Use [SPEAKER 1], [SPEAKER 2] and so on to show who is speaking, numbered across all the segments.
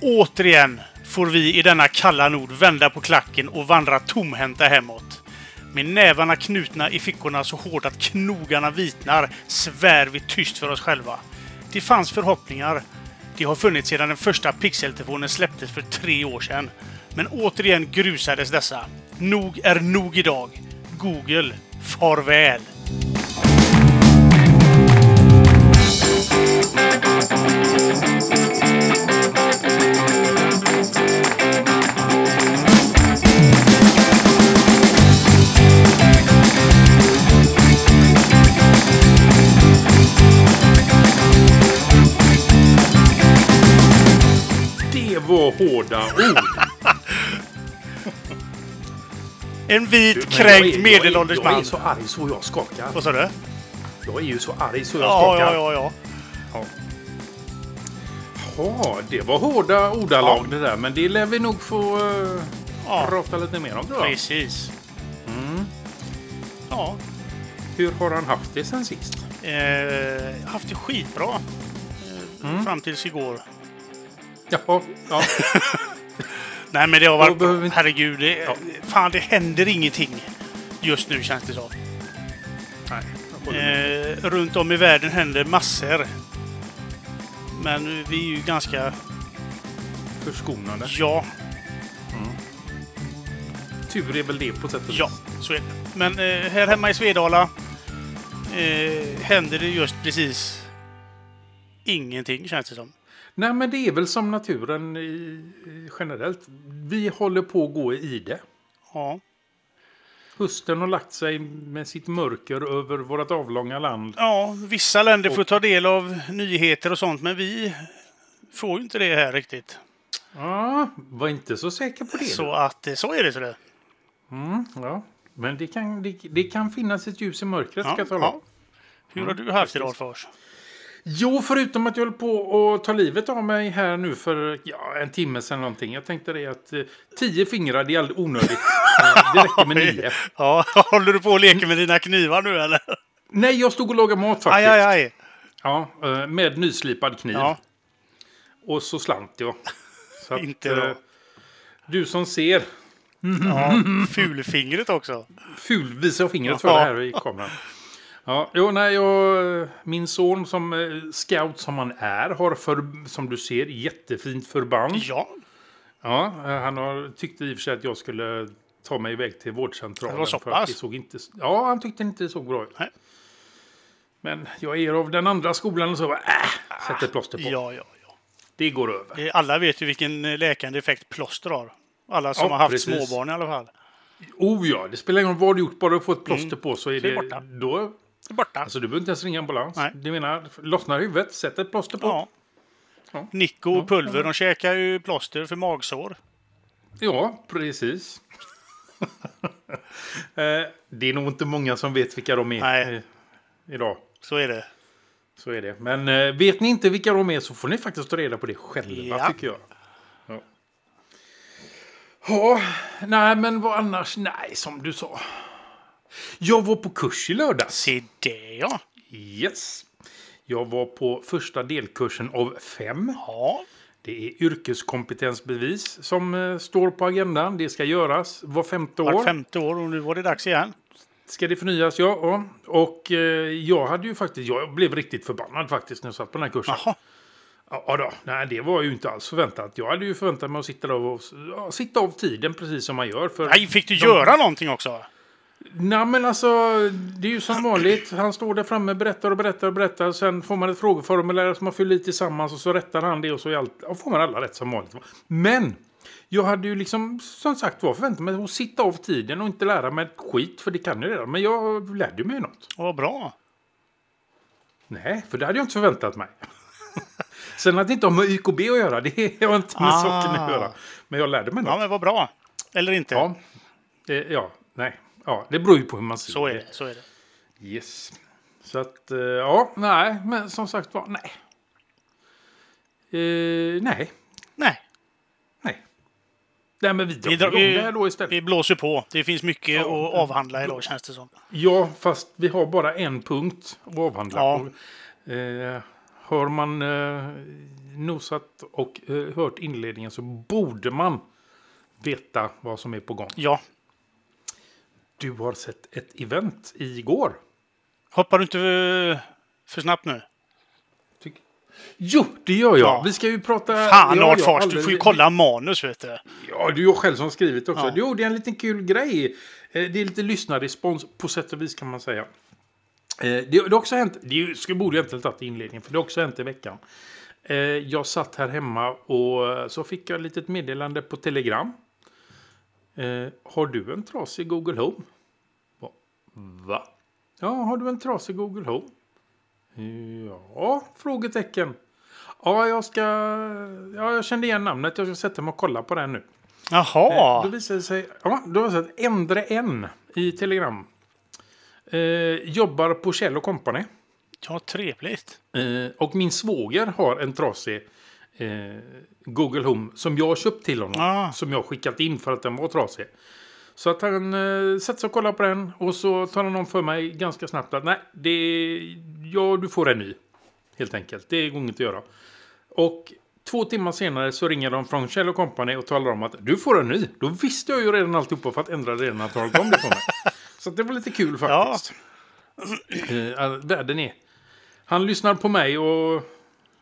[SPEAKER 1] Återigen får vi i denna kalla nord vända på klacken och vandra tomhänta hemåt. Med nävarna knutna i fickorna så hårt att knogarna vitnar svär vi tyst för oss själva. Det fanns förhoppningar. Det har funnits sedan den första pixeltelefonen släpptes för tre år sedan. Men återigen grusades dessa. Nog är nog idag. Google, farväl!
[SPEAKER 2] Det var hårda ord.
[SPEAKER 1] En
[SPEAKER 2] Du, men
[SPEAKER 1] vit,
[SPEAKER 2] jag är- jag
[SPEAKER 1] kränkt
[SPEAKER 2] är-
[SPEAKER 1] medelålders
[SPEAKER 2] Jag är
[SPEAKER 1] man.
[SPEAKER 2] så arg så jag skakar.
[SPEAKER 1] Vad sa du?
[SPEAKER 2] Jag är ju så arg så jag
[SPEAKER 1] Ja, ja,
[SPEAKER 2] skakar.
[SPEAKER 1] ja, ja.
[SPEAKER 2] Ja, det var hårda ordalag det där. Men det lär vi nog få eh,
[SPEAKER 1] ja.
[SPEAKER 2] prata lite mer om. Då.
[SPEAKER 1] Precis.
[SPEAKER 2] Mm.
[SPEAKER 1] Ja,
[SPEAKER 2] Hur har han haft det sen sist?
[SPEAKER 1] eh, haft det skitbra. Eh,
[SPEAKER 2] Mm.
[SPEAKER 1] Fram tills igår.
[SPEAKER 2] Jaha, ja.
[SPEAKER 1] Nej, men det har
[SPEAKER 2] Då
[SPEAKER 1] varit...
[SPEAKER 2] behöver vi inte-
[SPEAKER 1] Herregud, det, fan det händer ingenting just nu känns det som.
[SPEAKER 2] Nej, jag håller med.
[SPEAKER 1] Eh, runt om i världen händer massor. Men vi är ju ganska... Eh.
[SPEAKER 2] förskonade.
[SPEAKER 1] Ja,
[SPEAKER 2] Tur är väl det på sätt och vis.
[SPEAKER 1] ja, så är det. Men eh, här hemma i Svedala eh, händer det just precis ingenting känns det som.
[SPEAKER 2] Nej, men det är väl som naturen i, i- generellt. Vi håller på att gå i det.
[SPEAKER 1] Ja,
[SPEAKER 2] Hösten har lagt sig med sitt mörker över vårt avlånga land.
[SPEAKER 1] ja vissa länder får ta del av nyheter och sånt, men vi får ju inte det här riktigt.
[SPEAKER 2] Ja, var inte så säker på det.
[SPEAKER 1] Så att eh, så är det. Så det.
[SPEAKER 2] Mm, ja. Men det kan, det, det kan finnas ett ljus i mörkret,
[SPEAKER 1] Ja,
[SPEAKER 2] ska jag tala om.
[SPEAKER 1] ja. Hur har du haft det, Rolfors?
[SPEAKER 2] Jo, förutom att jag höll på att ta livet av mig här nu för ja, en timme sedan någonting. Jag tänkte det att eh, tio fingrar, det är aldrig onödigt. Eh, det räcker med nio.
[SPEAKER 1] Ja, håller du på och leker med dina knivar nu eller?
[SPEAKER 2] Nej, jag stod och lagade mat faktiskt.
[SPEAKER 1] Aj, aj, aj.
[SPEAKER 2] Ja, eh, med nyslipad kniv.
[SPEAKER 1] Ja,
[SPEAKER 2] Och så slant jag. Så att,
[SPEAKER 1] Inte bra.
[SPEAKER 2] eh, Du som ser,
[SPEAKER 1] ja. Fulfingret också.
[SPEAKER 2] ful visar jag fingret för
[SPEAKER 1] Ja.
[SPEAKER 2] det här i kameran. Ja, jo, nej, jag, min son som eh, scout som han är har för, som du ser jättefint förband.
[SPEAKER 1] Ja,
[SPEAKER 2] Ja, eh, han har, tyckte i och för sig att jag skulle ta mig iväg till vårdcentralen.
[SPEAKER 1] Det var så
[SPEAKER 2] för att
[SPEAKER 1] pass?
[SPEAKER 2] det såg inte, ja, han tyckte inte det såg bra ut.
[SPEAKER 1] Nej.
[SPEAKER 2] Men jag är av den andra skolan och så bara, äh, sätter plåster på.
[SPEAKER 1] ja, ja. ja.
[SPEAKER 2] Det går över.
[SPEAKER 1] Det- Alla vet ju vilken eh, läkande effekt plåster har. Alla som
[SPEAKER 2] Ja,
[SPEAKER 1] har haft
[SPEAKER 2] precis.
[SPEAKER 1] småbarn i alla fall.
[SPEAKER 2] Oh ja, det spelar ingen roll vad du gjort, bara du får ett plåster på så är
[SPEAKER 1] Så är
[SPEAKER 2] det,
[SPEAKER 1] Mm. det borta.
[SPEAKER 2] då
[SPEAKER 1] Det är Borta.
[SPEAKER 2] Alltså du behöver inte ens ringa ambulans.
[SPEAKER 1] Nej.
[SPEAKER 2] Du menar, lossnar huvudet, sätt ett plåster på.
[SPEAKER 1] ja.
[SPEAKER 2] Ja.
[SPEAKER 1] Nico och Pulver, de käkar ju plåster för magsår.
[SPEAKER 2] Ja, precis. Eh, det är nog inte många som vet vilka de är
[SPEAKER 1] Nej.
[SPEAKER 2] eh, idag.
[SPEAKER 1] Så är det.
[SPEAKER 2] Så är det. Men eh, vet ni inte vilka de är så får ni faktiskt ta reda på det själva
[SPEAKER 1] Ja.
[SPEAKER 2] tycker jag. Ja. ja, nej men vad annars? Nej, som du sa. Jag var på kurs i lördags.
[SPEAKER 1] Se det ja.
[SPEAKER 2] Yes. Jag var på första delkursen av fem.
[SPEAKER 1] Ja,
[SPEAKER 2] Det är yrkeskompetensbevis som eh, står på agendan. Det ska göras var femte år.
[SPEAKER 1] vart femte år och nu var det dags igen.
[SPEAKER 2] Ska det förnyas, ja. ja. Och eh, jag hade ju faktiskt, jag blev riktigt förbannad faktiskt när jag satt på den här kursen.
[SPEAKER 1] Jaha.
[SPEAKER 2] Ja, ja då, nej det var ju inte alls förväntat. Jag hade ju förväntat mig att sitta, där och, ja, sitta av tiden precis som man gör. För,
[SPEAKER 1] Nej, fick du göra någonting också?
[SPEAKER 2] Nej men alltså, det är ju som vanligt. Han står där framme, berättar och berättar och berättar. Sen får man ett frågeformulär som man fyller i tillsammans och så rättar han det och så är allt, och får man alla rätt som vanligt. Men! Jag hade ju liksom, som sagt var, förväntat mig att sitta av tiden och inte lära mig ett skit, för det kan jag redan. Men jag lärde mig något.
[SPEAKER 1] Vad bra.
[SPEAKER 2] Nej, för det hade jag inte förväntat mig. Sen att det inte har med YKB att göra, det har inte med
[SPEAKER 1] Ah.
[SPEAKER 2] saken att göra. Men jag lärde mig något.
[SPEAKER 1] Ja, men vad bra. Eller inte.
[SPEAKER 2] Ja, eh, ja nej. Ja, det beror ju på hur man ser
[SPEAKER 1] Så är
[SPEAKER 2] det.
[SPEAKER 1] det. Så är det.
[SPEAKER 2] Yes. Så att, eh, ja, nej, men som sagt var, nej. Eh, nej,
[SPEAKER 1] Nej,
[SPEAKER 2] nej. Nej, men vi drar
[SPEAKER 1] Vi drar-
[SPEAKER 2] igång
[SPEAKER 1] vi-
[SPEAKER 2] det här då istället.
[SPEAKER 1] vi blåser på. Det finns mycket
[SPEAKER 2] Ja,
[SPEAKER 1] att avhandla idag känns det som.
[SPEAKER 2] Ja, fast vi har bara en punkt att avhandla.
[SPEAKER 1] Ja.
[SPEAKER 2] Och, eh, har man eh, nosat och eh, hört inledningen så borde man veta vad som är på gång.
[SPEAKER 1] Ja.
[SPEAKER 2] Du har sett ett event igår.
[SPEAKER 1] Hoppar du inte eh, för snabbt nu?
[SPEAKER 2] Tyck- Jo, det gör jag.
[SPEAKER 1] Ja.
[SPEAKER 2] Vi ska ju prata...
[SPEAKER 1] Fan,
[SPEAKER 2] ja,
[SPEAKER 1] Lars
[SPEAKER 2] ja,
[SPEAKER 1] Fars, du
[SPEAKER 2] alldeles-
[SPEAKER 1] får ju kolla manus, vet du.
[SPEAKER 2] Ja, det är jag själv som har skrivit också.
[SPEAKER 1] Ja.
[SPEAKER 2] Jo, det är en liten kul grej. Eh, Det är lite lyssnarrespons på sätt och vis kan man säga. Eh, Det det har också hänt, det är ju- skulle- borde jag inte ha tagit i inledningen, för det har också hänt i veckan. Eh, Jag satt här hemma och eh, så fick jag ett litet meddelande på Telegram. Eh, Har du en trasig Google Home? Va? Va? Ja, har du en trasig Google Home? Ja, frågetecken. Ja, jag ska... Ja, jag kände igen namnet. Jag ska sätta mig och kolla på det nu.
[SPEAKER 1] Jaha.
[SPEAKER 2] Eh, Då visade det sig... Ja, då var det så att Endre N i Telegram eh, jobbar på Kjell Company.
[SPEAKER 1] Ja, trevligt.
[SPEAKER 2] Eh, och min svåger har en trasig eh, Google Home som jag har köpt till honom.
[SPEAKER 1] Ah.
[SPEAKER 2] Som jag har skickat in för att den var trasig. Så att han eh, sätter sig och kollar på den och så talar någon för mig ganska snabbt att nej, det, ja, du får en ny. Helt enkelt, det går inget att göra. Och två timmar senare så ringer de från Kjell Company och talar om att du får en ny. Då visste jag ju redan alltihopa för att ändra redan att de kom det för mig. Så att det var lite kul faktiskt. Eh, all- världen är... Han lyssnar på mig och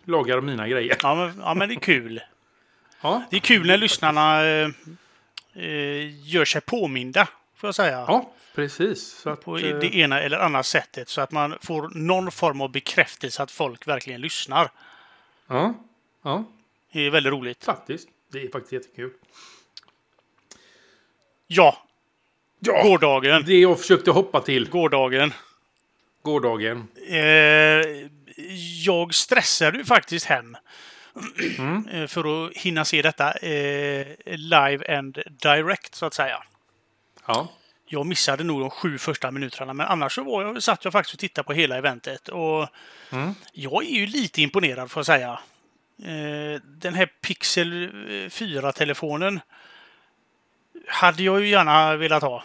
[SPEAKER 2] lagar mina grejer.
[SPEAKER 1] Ja men, ja, men det är kul.
[SPEAKER 2] Ja,
[SPEAKER 1] Det är kul när lyssnarna eh, eh, gör sig påminda, får jag säga.
[SPEAKER 2] ja precis. Så att,
[SPEAKER 1] På
[SPEAKER 2] eh,
[SPEAKER 1] det ena eller andra sättet. Så att man får någon form av bekräftelse att folk verkligen lyssnar.
[SPEAKER 2] ja, ja,
[SPEAKER 1] Det är väldigt roligt.
[SPEAKER 2] faktiskt. Det är faktiskt jättekul.
[SPEAKER 1] Ja,
[SPEAKER 2] Ja,
[SPEAKER 1] gårdagen.
[SPEAKER 2] det jag försökte hoppa till
[SPEAKER 1] Gårdagen.
[SPEAKER 2] gårdagen.
[SPEAKER 1] Eh, jag stressade ju faktiskt hem.
[SPEAKER 2] Mm.
[SPEAKER 1] Eh, För att hinna se detta eh, live and direct, så att säga.
[SPEAKER 2] Ja,
[SPEAKER 1] Jag missade nog de sju första minuterna, men annars så var jag, satt jag faktiskt och tittade på hela eventet. Och Jag är ju lite imponerad, får jag säga. Eh, Den här Pixel 4-telefonen hade jag ju gärna velat ha.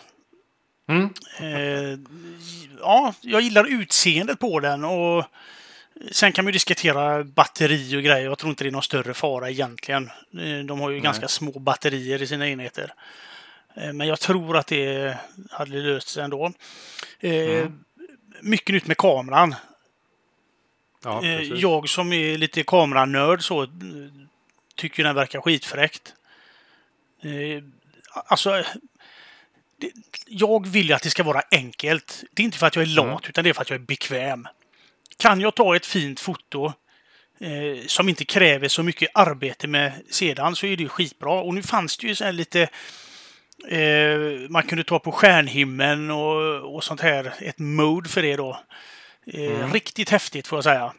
[SPEAKER 2] Mm.
[SPEAKER 1] Eh, Ja, jag gillar utseendet på den och sen kan man ju diskutera batteri och grejer. Jag tror inte det är någon större fara egentligen. Eh, De har ju ganska små batterier i sina enheter. Eh, Men jag tror att det hade löst sig ändå. Eh, Mycket nytt med kameran.
[SPEAKER 2] ja
[SPEAKER 1] Eh,
[SPEAKER 2] precis.
[SPEAKER 1] Jag som är lite kameranörd så eh, tycker den verkar skitfräckt. Eh, Alltså, eh, det, jag vill ju att det ska vara enkelt. Det är inte för att jag är lat, utan det är för att jag är bekväm. Kan jag ta ett fint foto eh, som inte kräver så mycket arbete med sedan så är det ju skitbra. Och nu fanns det ju så här lite Eh, man kunde ta på stjärnhimlen och, och sånt här. Ett mode för det då. Eh, Riktigt häftigt får jag säga.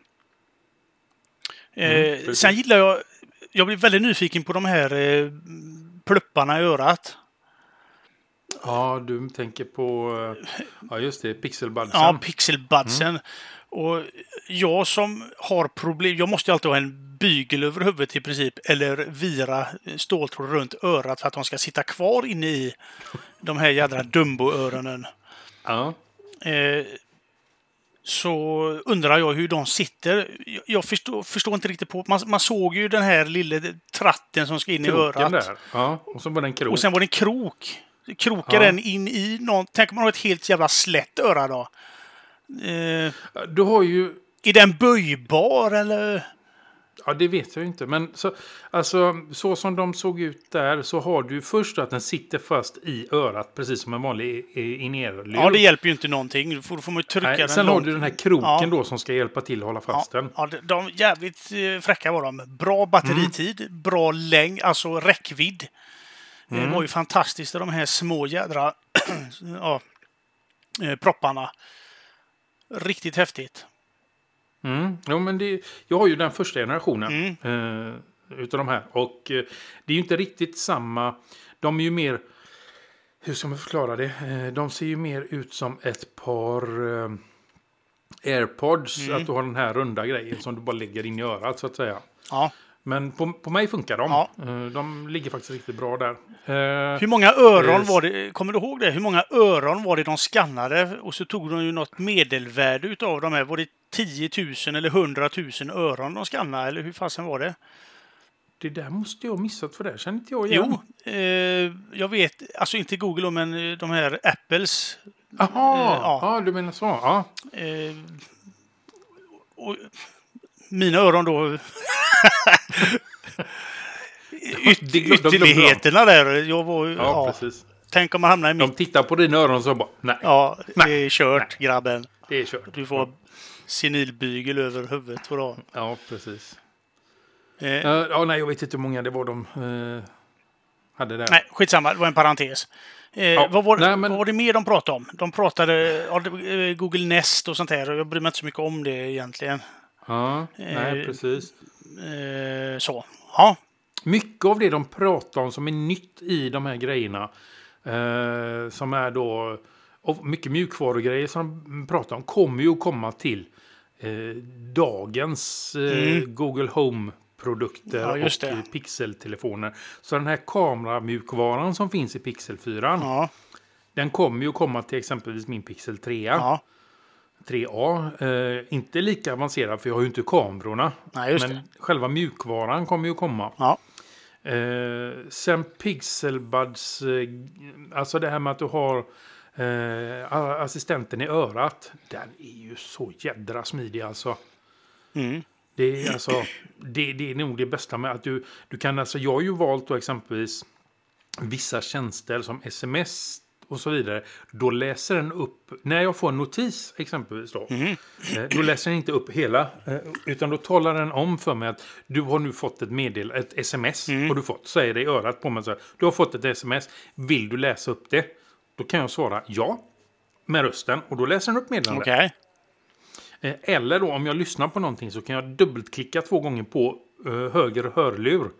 [SPEAKER 1] Eh,
[SPEAKER 2] precis.
[SPEAKER 1] sen gillar jag... Jag blev väldigt nyfiken på de här eh, plupparna i örat.
[SPEAKER 2] Ja, du tänker på... eh, Ja, just det. Pixelbadsen.
[SPEAKER 1] Ja, pixelbudsen.
[SPEAKER 2] Mm.
[SPEAKER 1] Och jag som har problem... Jag måste ju alltid ha en bygel över huvudet i princip. Eller vira ståltråd runt örat för att de ska sitta kvar inne i de här jädra Dumbo-öronen.
[SPEAKER 2] ja.
[SPEAKER 1] Eh, så undrar jag hur de sitter. Jag- Jag förstår, förstår inte riktigt på... Man, man såg ju den här lilla tratten som ska in i
[SPEAKER 2] Kroken
[SPEAKER 1] örat.
[SPEAKER 2] där. Ja, och så var det en krok.
[SPEAKER 1] Och sen var det en krok. Krokar
[SPEAKER 2] Ja.
[SPEAKER 1] den in i någon... Tänk om man har ett helt jävla slätt öra då? Eh,
[SPEAKER 2] Du har ju...
[SPEAKER 1] är den böjbar eller?
[SPEAKER 2] Ja, det vet jag ju inte. Men så, alltså, så som de såg ut där så har du först att den sitter fast i örat precis som en vanlig in ear
[SPEAKER 1] Ja, det hjälper ju inte någonting. Då får, då får man ju trycka
[SPEAKER 2] Nej,
[SPEAKER 1] den
[SPEAKER 2] sen har
[SPEAKER 1] långt.
[SPEAKER 2] du den här kroken
[SPEAKER 1] Ja.
[SPEAKER 2] då som ska hjälpa till att hålla fast
[SPEAKER 1] ja,
[SPEAKER 2] den.
[SPEAKER 1] ja, de, de jävligt eh, fräcka var de. Bra batteritid,
[SPEAKER 2] Mm.
[SPEAKER 1] bra längd, alltså räckvidd. Det var ju fantastiskt de här små jädra ja, eh, propparna. Riktigt häftigt.
[SPEAKER 2] Mm. Jo, men det, jag har ju den första generationen
[SPEAKER 1] Mm.
[SPEAKER 2] eh, utav de här. Och eh, det är ju inte riktigt samma. De är ju mer... Hur ska man förklara det? Eh, de ser ju mer ut som ett par... Eh, airpods.
[SPEAKER 1] Mm.
[SPEAKER 2] Att du har den här runda grejen som du bara lägger in i örat så att säga.
[SPEAKER 1] Ja.
[SPEAKER 2] Men på, på mig funkar de.
[SPEAKER 1] Ja.
[SPEAKER 2] Eh, De ligger faktiskt riktigt bra där. Eh,
[SPEAKER 1] Hur många öron
[SPEAKER 2] Eh,
[SPEAKER 1] var det? Kommer du ihåg det? Hur många öron var det de skannade? Och så tog de ju något medelvärde utav de här. Var det 10 000 eller 100 000 öron de skannade? Eller hur fasen var det?
[SPEAKER 2] Det där måste jag ha missat för det här känner inte jag igen.
[SPEAKER 1] Jo, eh, jag vet. Alltså inte Google men eh, de här Apples.
[SPEAKER 2] Jaha,
[SPEAKER 1] Eh, ja.
[SPEAKER 2] ja. du menar så. Ja.
[SPEAKER 1] Eh, och, mina öron då. Yt,
[SPEAKER 2] De glömde- de glömde dem.
[SPEAKER 1] ytterligheterna där. Jag var, ju-
[SPEAKER 2] Ja,
[SPEAKER 1] ja,
[SPEAKER 2] precis.
[SPEAKER 1] tänk om man hamnar i
[SPEAKER 2] De
[SPEAKER 1] mitt.
[SPEAKER 2] tittar på dina öron och så bara, nej,
[SPEAKER 1] Ja, det
[SPEAKER 2] Nej.
[SPEAKER 1] är kört grabben.
[SPEAKER 2] det är kört.
[SPEAKER 1] Du får senilbygel över huvudet på dagen.
[SPEAKER 2] Ja, precis.
[SPEAKER 1] Eh,
[SPEAKER 2] Eh, ja, nej, jag vet inte hur många det var de eh, hade där.
[SPEAKER 1] Nej, skitsamma. Det var en parentes. Eh,
[SPEAKER 2] Ja,
[SPEAKER 1] vad, var,
[SPEAKER 2] nej, men-
[SPEAKER 1] vad var det mer de pratade om? De pratade ja, det- eh, Google Nest och sånt där. och Jag bryr mig inte så mycket om det egentligen.
[SPEAKER 2] Ja, nej,
[SPEAKER 1] Eh,
[SPEAKER 2] precis.
[SPEAKER 1] Eh, så. Ja.
[SPEAKER 2] Mycket av det de pratar om som är nytt i de här grejerna, eh, som är då, och mycket mjukvarugrejer som de pratar om, kommer ju att komma till eh, dagens eh, Google Home-produkter
[SPEAKER 1] Mm. Ja, just
[SPEAKER 2] och
[SPEAKER 1] det.
[SPEAKER 2] eh, pixeltelefoner. Så den här kameramjukvaran som finns i Pixel 4,
[SPEAKER 1] Ja.
[SPEAKER 2] den kommer ju att komma till exempelvis min Pixel 3,
[SPEAKER 1] ja.
[SPEAKER 2] 3A. Eh, inte lika avancerad, för jag har ju inte kamerorna.
[SPEAKER 1] Nej, just
[SPEAKER 2] men
[SPEAKER 1] det.
[SPEAKER 2] själva mjukvaran kommer ju att komma.
[SPEAKER 1] Ja.
[SPEAKER 2] Eh, sen Pixelbuds, eh, alltså det här med att du har eh, a- assistenten i örat. Den är ju så jädra smidig alltså.
[SPEAKER 1] Mm.
[SPEAKER 2] Det är, alltså, det, det är nog det bästa med att du, du kan, alltså jag har ju valt då exempelvis vissa tjänster som sms och så vidare. Då läser den upp, när jag får en notis exempelvis då, eh, då läser den inte upp hela, eh, utan då talar den om för mig att du har nu fått ett meddel, ett sms, har du fått, säger det i örat på mig så här, du har fått ett sms, vill du läsa upp det? Då kan jag svara ja med rösten och då läser den upp meddelandet.
[SPEAKER 1] Okej.
[SPEAKER 2] Eh, Eller då om jag lyssnar på någonting så kan jag dubbelklicka två gånger på eh, höger hörlur.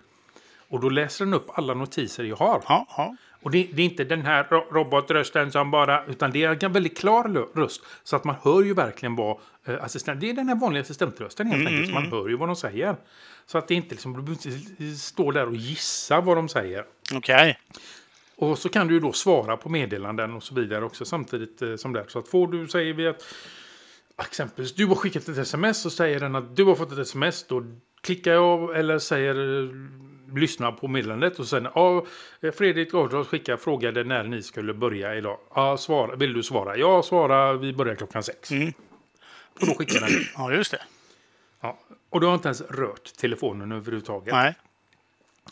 [SPEAKER 2] Och då läser den upp alla notiser jag har.
[SPEAKER 1] Ja, ja.
[SPEAKER 2] Och det, det är inte den här ro- robotrösten som bara, utan det är en väldigt klar lö- röst. Så att man hör ju verkligen vad eh, assistent, det är den här vanliga assistentrösten helt enkelt. så man hör ju vad de säger. Så att det är inte liksom, du behöver inte stå där och gissa vad de säger.
[SPEAKER 1] Okej.
[SPEAKER 2] Och så kan du ju då svara på meddelanden och så vidare också samtidigt eh, som det. Så att får du, säger vi att exempelvis du har skickat ett sms och säger den att du har fått ett sms. Då klickar jag eller säger eh, lyssna på meddelandet och sen ja, eh, Fredrik Gardros skickar frågade när ni skulle börja idag. Ja, svara, vill du svara? Ja, svara, vi börjar klockan sex.
[SPEAKER 1] Mm.
[SPEAKER 2] Och då skickar den.
[SPEAKER 1] Ja, just det.
[SPEAKER 2] Ja. Och du har inte ens rört telefonen överhuvudtaget.
[SPEAKER 1] Nej.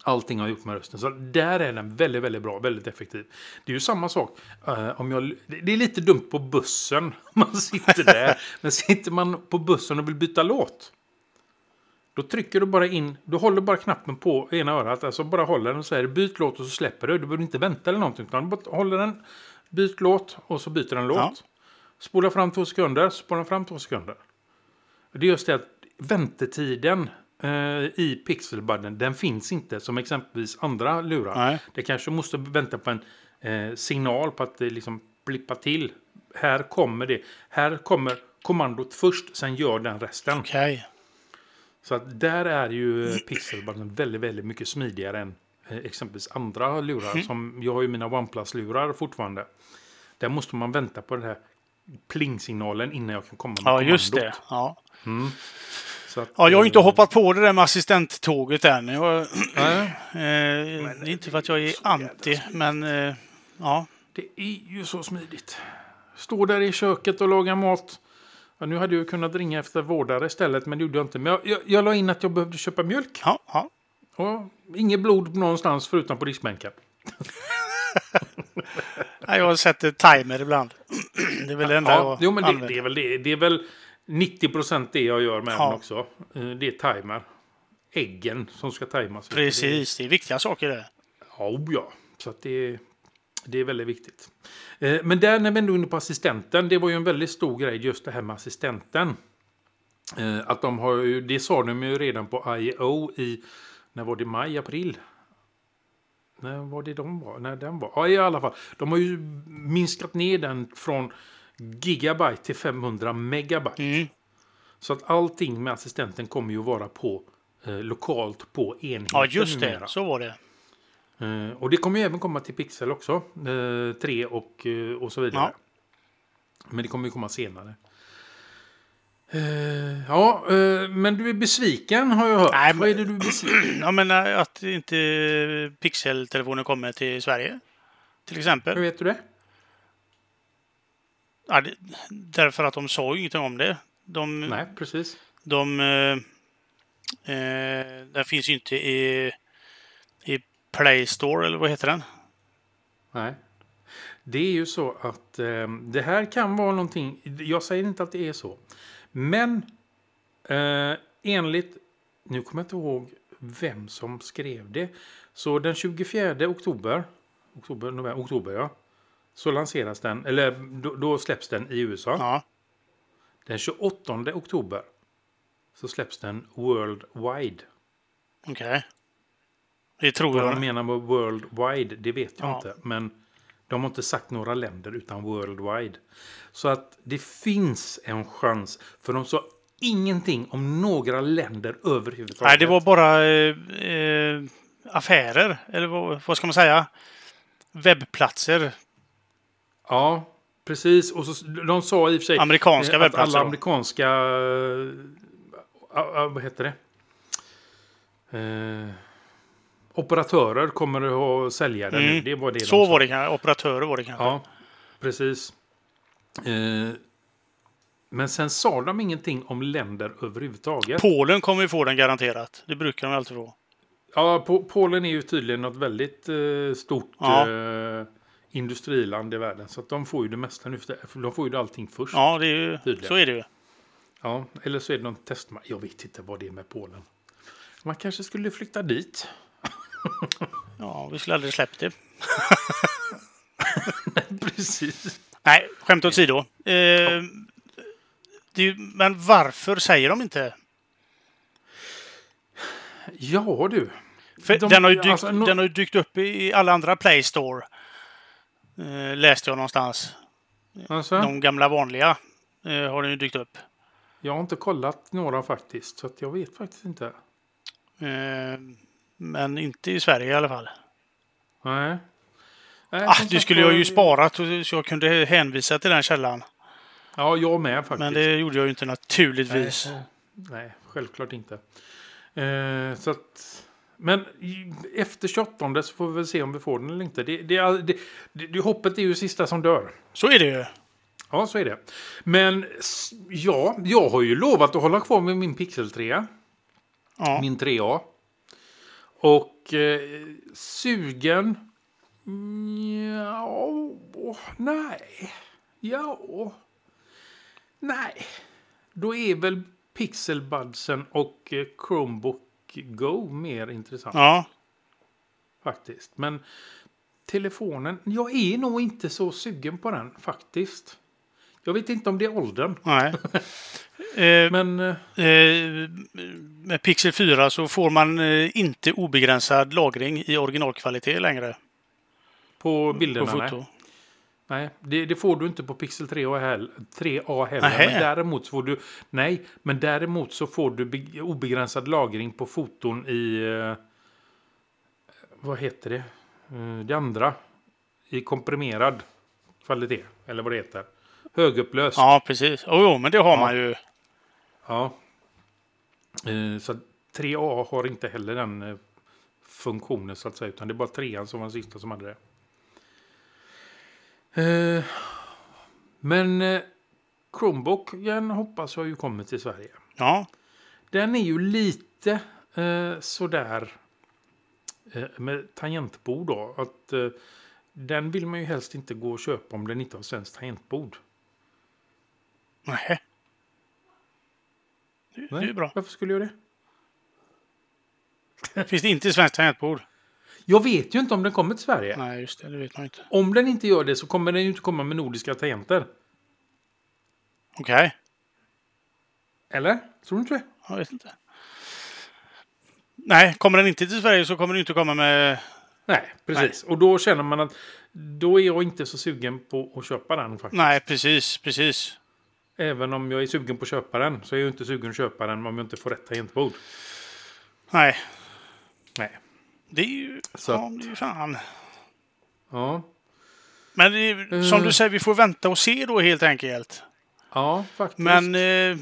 [SPEAKER 2] Allting har gjort med rösten. Så där är den väldigt, väldigt bra, väldigt effektiv. Det är ju samma sak. eh, om jag, det det är lite dumt på bussen. Man sitter där. men sitter man på bussen och vill byta låt. Då trycker du bara in. Du håller bara knappen på ena örat. Alltså bara håller den och säger byt låt och så släpper du. Du behöver inte vänta eller någonting. Utan du bara håller den. Byt låt och så byter den låt.
[SPEAKER 1] Ja.
[SPEAKER 2] Spola fram två sekunder. Spola fram två sekunder. Det är just det att väntetiden eh, i pixelbudden, den finns inte som exempelvis andra lurar.
[SPEAKER 1] Nej.
[SPEAKER 2] Det kanske måste vänta på en eh, signal på att det liksom blippar till. Här kommer det. Här kommer kommandot först, sen gör den resten.
[SPEAKER 1] Okej.
[SPEAKER 2] Så att där är ju eh, pixelbudden väldigt, väldigt mycket smidigare än eh, exempelvis andra lurar.
[SPEAKER 1] Mm.
[SPEAKER 2] Som, jag har ju mina OnePlus-lurar fortfarande. Där måste man vänta på den här pling-signalen innan jag kan komma med
[SPEAKER 1] Ja, just
[SPEAKER 2] kommandot.
[SPEAKER 1] det. Ja.
[SPEAKER 2] Så att,
[SPEAKER 1] ja, jag har ju inte
[SPEAKER 2] eh,
[SPEAKER 1] hoppat på det där med assistenttåget än. Jag, eh,
[SPEAKER 2] nej.
[SPEAKER 1] det är inte för att jag är anti, men eh, ja.
[SPEAKER 2] Det är ju så smidigt. Stå där i köket och laga mat. Ja, nu hade jag ju kunnat ringa efter vårdare istället, men det gjorde jag inte. Men jag, jag, jag la in att jag behövde köpa mjölk.
[SPEAKER 1] Ja, ja.
[SPEAKER 2] Ja, inget blod någonstans förutom på diskbänken.
[SPEAKER 1] Nej, Jag sätter timer ibland. Det är väl det enda
[SPEAKER 2] Ja,
[SPEAKER 1] jag
[SPEAKER 2] jo, men det,
[SPEAKER 1] använder.
[SPEAKER 2] det, är väl det, det är väl 90 det jag gör med
[SPEAKER 1] Ja.
[SPEAKER 2] den också. Eh, Det är timer. Äggen som ska tajmas.
[SPEAKER 1] Precis, det är viktiga saker det.
[SPEAKER 2] Ja, o ja. Så att det, det är väldigt viktigt. Eh, Men där när vi ändå är inne på assistenten, det var ju en väldigt stor grej just det här med assistenten. Eh, Att de har ju, det sa de ju redan på I.O. i, när var det, maj, april? När var det de var? När den var? Ja, i alla fall. De har ju minskat ner den från gigabyte till 500 megabyte.
[SPEAKER 1] Mm.
[SPEAKER 2] Så att allting med assistenten kommer ju vara på eh, lokalt på enheten
[SPEAKER 1] Ja, just det.
[SPEAKER 2] numera.
[SPEAKER 1] Så var det.
[SPEAKER 2] Eh, och det kommer ju även komma till Pixel också. Eh, 3 och, eh, och så vidare. Men det kommer ju komma senare. Eh, ja, eh, men du är besviken har jag hört.
[SPEAKER 1] Nej, men-
[SPEAKER 2] Vad är det du är besviken
[SPEAKER 1] Ja, men eh, att inte pixeltelefoner kommer till Sverige. Till
[SPEAKER 2] Hur
[SPEAKER 1] exempel.
[SPEAKER 2] vet du det?
[SPEAKER 1] Ja, det, därför att de sa ju ingenting om det. De,
[SPEAKER 2] Nej, precis.
[SPEAKER 1] De... Eh, eh, den finns ju inte i, i Play Store, eller vad heter den?
[SPEAKER 2] Nej. Det är ju så att eh, det här kan vara någonting. Jag säger inte att det är så. Men eh, enligt, nu kommer jag inte ihåg vem som skrev det. Så den 24 oktober, oktober, november, oktober ja. Så lanseras den, eller då, då släpps den i USA.
[SPEAKER 1] Ja.
[SPEAKER 2] Den 28 oktober så släpps den worldwide.
[SPEAKER 1] Okej. Det tror
[SPEAKER 2] Vad de
[SPEAKER 1] jag.
[SPEAKER 2] menar med worldwide, det vet jag
[SPEAKER 1] Ja.
[SPEAKER 2] inte. Men de har inte sagt några länder, utan worldwide. Så att det finns en chans. För de sa ingenting om några länder överhuvudtaget.
[SPEAKER 1] Nej, det var bara eh, eh, affärer, eller vad, vad ska man säga? Webbplatser.
[SPEAKER 2] Ja, precis. Och så, de sa i och för sig...
[SPEAKER 1] Amerikanska
[SPEAKER 2] eh, att
[SPEAKER 1] webbplatser
[SPEAKER 2] Alla
[SPEAKER 1] då.
[SPEAKER 2] amerikanska... eh, ah, ah, vad heter det? Eh, operatörer kommer att ha säljare nu.
[SPEAKER 1] Mm.
[SPEAKER 2] Det var det de
[SPEAKER 1] Så
[SPEAKER 2] sa.
[SPEAKER 1] var det kanske. Operatörer var det kanske.
[SPEAKER 2] Ja, precis. Eh, men sen sa de ingenting om länder överhuvudtaget.
[SPEAKER 1] Polen kommer ju få den garanterat. Det brukar de alltid få.
[SPEAKER 2] ja, po Polen är ju tydligen något väldigt eh, stort
[SPEAKER 1] Ja.
[SPEAKER 2] eh, industriland i världen. Så att de får ju det mesta nu. för det- för De får ju allting först. Ja.
[SPEAKER 1] Ja, det är ju,
[SPEAKER 2] Tydligen.
[SPEAKER 1] så är det ju.
[SPEAKER 2] eller så är det någon testmark. Jag vet inte vad det är med Polen. Man kanske skulle flytta dit.
[SPEAKER 1] Ja, vi skulle aldrig släppt det.
[SPEAKER 2] precis.
[SPEAKER 1] Nej, skämt åsido. Eh, det är ju, men varför säger de inte?
[SPEAKER 2] Ja, du.
[SPEAKER 1] För
[SPEAKER 2] De-
[SPEAKER 1] den, har ju dykt,
[SPEAKER 2] alltså, no-
[SPEAKER 1] den har ju dykt upp i alla andra Play Store. Eh, läste jag någonstans.
[SPEAKER 2] Alltså,
[SPEAKER 1] De gamla vanliga eh, har den ju dykt upp.
[SPEAKER 2] Jag har inte kollat några faktiskt, så att jag vet faktiskt inte.
[SPEAKER 1] Eh, men inte i Sverige i alla fall.
[SPEAKER 2] Nej. Nej
[SPEAKER 1] Ah,
[SPEAKER 2] som
[SPEAKER 1] det
[SPEAKER 2] sagt
[SPEAKER 1] skulle
[SPEAKER 2] var-
[SPEAKER 1] jag ju sparat så så jag kunde hänvisa till den källan.
[SPEAKER 2] Ja, jag med faktiskt.
[SPEAKER 1] Men det gjorde jag ju inte naturligtvis.
[SPEAKER 2] Nej, nej, självklart inte. Eh, så att, men i- efter 28 så får vi väl se om vi får den eller inte. Det, det, är- det, det, det, hoppet är ju sista som dör.
[SPEAKER 1] Så är det ju.
[SPEAKER 2] Ja, så är det. Men s- ja, jag har ju lovat att hålla kvar med min Pixel 3.
[SPEAKER 1] Ja.
[SPEAKER 2] Min 3A. Och eh, sugen... Mm, Ja, åh, nej. Ja, åh. nej. Då är väl Pixelbudsen och eh, Chromebook Go mer intressant
[SPEAKER 1] ja.
[SPEAKER 2] faktiskt. Men telefonen, jag är nog inte så sugen på den faktiskt. Jag vet inte om det är åldern.
[SPEAKER 1] Nej. Eh,
[SPEAKER 2] Men eh,
[SPEAKER 1] eh, med Pixel 4 så får man eh, inte obegränsad lagring i originalkvalitet längre.
[SPEAKER 2] på bilderna,
[SPEAKER 1] På
[SPEAKER 2] nej.
[SPEAKER 1] foto.
[SPEAKER 2] Nej, det, det får du inte på Pixel 3A heller. 3A heller.
[SPEAKER 1] Nähä.
[SPEAKER 2] Men däremot så får du... Nej, men däremot så får du be- obegränsad lagring på foton i... Eh, vad heter det? Eh, det andra. I komprimerad kvalitet. Eller vad det heter. Högupplöst. Ja.
[SPEAKER 1] Ja, precis. Jo, jo, men det har man ju.
[SPEAKER 2] Eh, så att 3A har inte heller den eh, funktionen så att säga. Utan det är bara 3an som var den sista som hade det. Eh, Men eh, Chromebooken hoppas jag ju kommer till Sverige.
[SPEAKER 1] Ja.
[SPEAKER 2] Den är ju lite eh, sådär eh, med tangentbord då. Att, eh, den vill man ju helst inte gå och köpa om den inte har svenskt tangentbord.
[SPEAKER 1] Nej. Det, det är ju bra.
[SPEAKER 2] Varför skulle jag det?
[SPEAKER 1] Finns det inte i svenskt tangentbord?
[SPEAKER 2] Jag vet ju inte om den kommer till Sverige.
[SPEAKER 1] Nej, just det. Det vet man inte.
[SPEAKER 2] Om den inte gör det så kommer den ju inte komma med nordiska tangenter.
[SPEAKER 1] Okej.
[SPEAKER 2] Eller? Tror du inte det?
[SPEAKER 1] Jag vet inte. Nej, kommer den inte till Sverige så kommer den inte komma med
[SPEAKER 2] Nej, precis. Och då känner man att då är jag inte så sugen på att köpa den faktiskt.
[SPEAKER 1] Nej, precis, precis.
[SPEAKER 2] Även om jag är sugen på att köpa den så är jag ju inte sugen att köpa den om jag inte får rätt tangentbord.
[SPEAKER 1] Nej,
[SPEAKER 2] Nej.
[SPEAKER 1] det är ju...
[SPEAKER 2] Så
[SPEAKER 1] Ja, det är ju fan.
[SPEAKER 2] Ja.
[SPEAKER 1] Men det är, ju- som du säger, vi får vänta och se då helt enkelt.
[SPEAKER 2] Ja, faktiskt.
[SPEAKER 1] Men eh,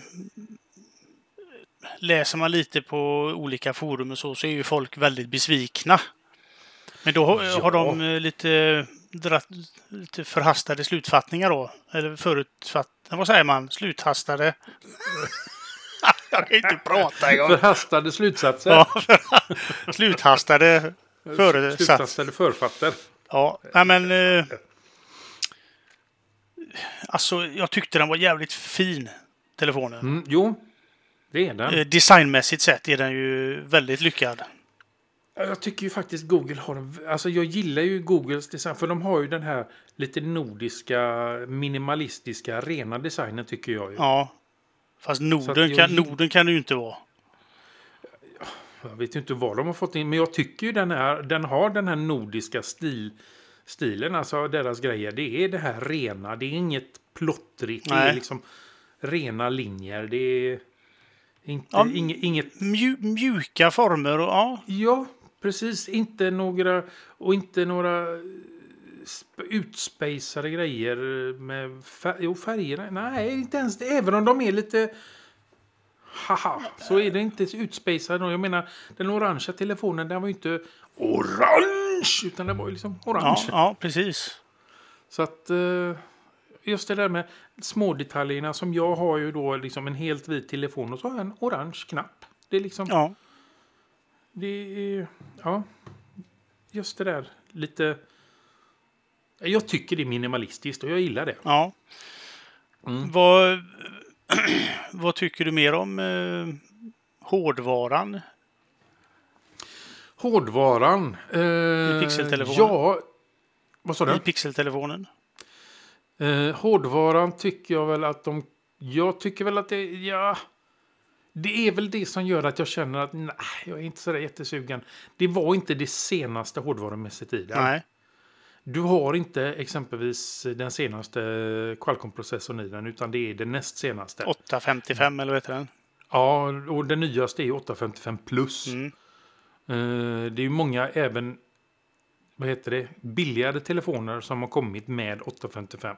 [SPEAKER 1] läser man lite på olika forum och så, så är ju folk väldigt besvikna. Men då har, har de eh, lite, dratt, lite förhastade slutfattningar då. Eller förutfattade, vad säger man? Sluthastade. Jag kan inte prata igång.
[SPEAKER 2] Förhastade slutsatser.
[SPEAKER 1] Ja, sluthastade föresats.
[SPEAKER 2] Slutsatser eller författer.
[SPEAKER 1] Ja, nej men... Eh, alltså, jag tyckte den var jävligt fin, telefonen.
[SPEAKER 2] Mm, jo, det är den.
[SPEAKER 1] Eh, Designmässigt sett är den ju väldigt lyckad.
[SPEAKER 2] Jag tycker ju faktiskt Google har en... Alltså jag gillar ju Googles design. För de har ju den här lite nordiska, minimalistiska, rena designen tycker jag. Ju.
[SPEAKER 1] Ja. Fast Norden,
[SPEAKER 2] jag
[SPEAKER 1] kan,
[SPEAKER 2] gill-
[SPEAKER 1] Norden kan det ju inte vara.
[SPEAKER 2] Jag vet ju inte vad de har fått in. Men jag tycker ju den, här, den har den här nordiska stil, stilen. Alltså deras grejer. Det är det här rena. Det är inget plottrigt. Det är
[SPEAKER 1] Nej.
[SPEAKER 2] liksom rena linjer. Det är inte,
[SPEAKER 1] Ja,
[SPEAKER 2] inge- inget
[SPEAKER 1] Mju, mjuka former och ja.
[SPEAKER 2] Ja, precis. Inte några, och inte några eh, sp- utspejsade grejer med färg, jo, färgerna. Nej, inte ens det. Även om de är lite... Haha, så är det inte utspejsade. Jag menar, den orangea telefonen, den var ju inte orange, utan den var ju liksom
[SPEAKER 1] Ja,
[SPEAKER 2] orange.
[SPEAKER 1] ja, precis.
[SPEAKER 2] Så att eh, just det där med smådetaljerna som jag har ju då liksom en helt vit telefon och så har jag en orange knapp. Det är liksom...
[SPEAKER 1] Ja.
[SPEAKER 2] Det är... Ja. Just det där. Lite... Jag tycker det är minimalistiskt och jag gillar det.
[SPEAKER 1] ja.
[SPEAKER 2] Mm.
[SPEAKER 1] Vad, vad tycker du mer om eh, hårdvaran?
[SPEAKER 2] Hårdvaran. Eh, I
[SPEAKER 1] pixeltelefonen?
[SPEAKER 2] Ja. Vad sa du?
[SPEAKER 1] I pixeltelefonen?
[SPEAKER 2] Eh, hårdvaran tycker jag väl att de... Jag tycker väl att det... Ja. Det är väl det som gör att jag känner att nej, jag är inte så där jättesugen. Det var inte det senaste hårdvarumässigt i den.
[SPEAKER 1] Nej.
[SPEAKER 2] Du har inte exempelvis den senaste Qualcomm-processorn i den, utan det är den näst senaste.
[SPEAKER 1] 855 eller vad heter den?
[SPEAKER 2] Ja, och den nyaste är ju 855 plus.
[SPEAKER 1] Mm.
[SPEAKER 2] Eh, det är ju många även vad heter det, billigare telefoner som har kommit med 855.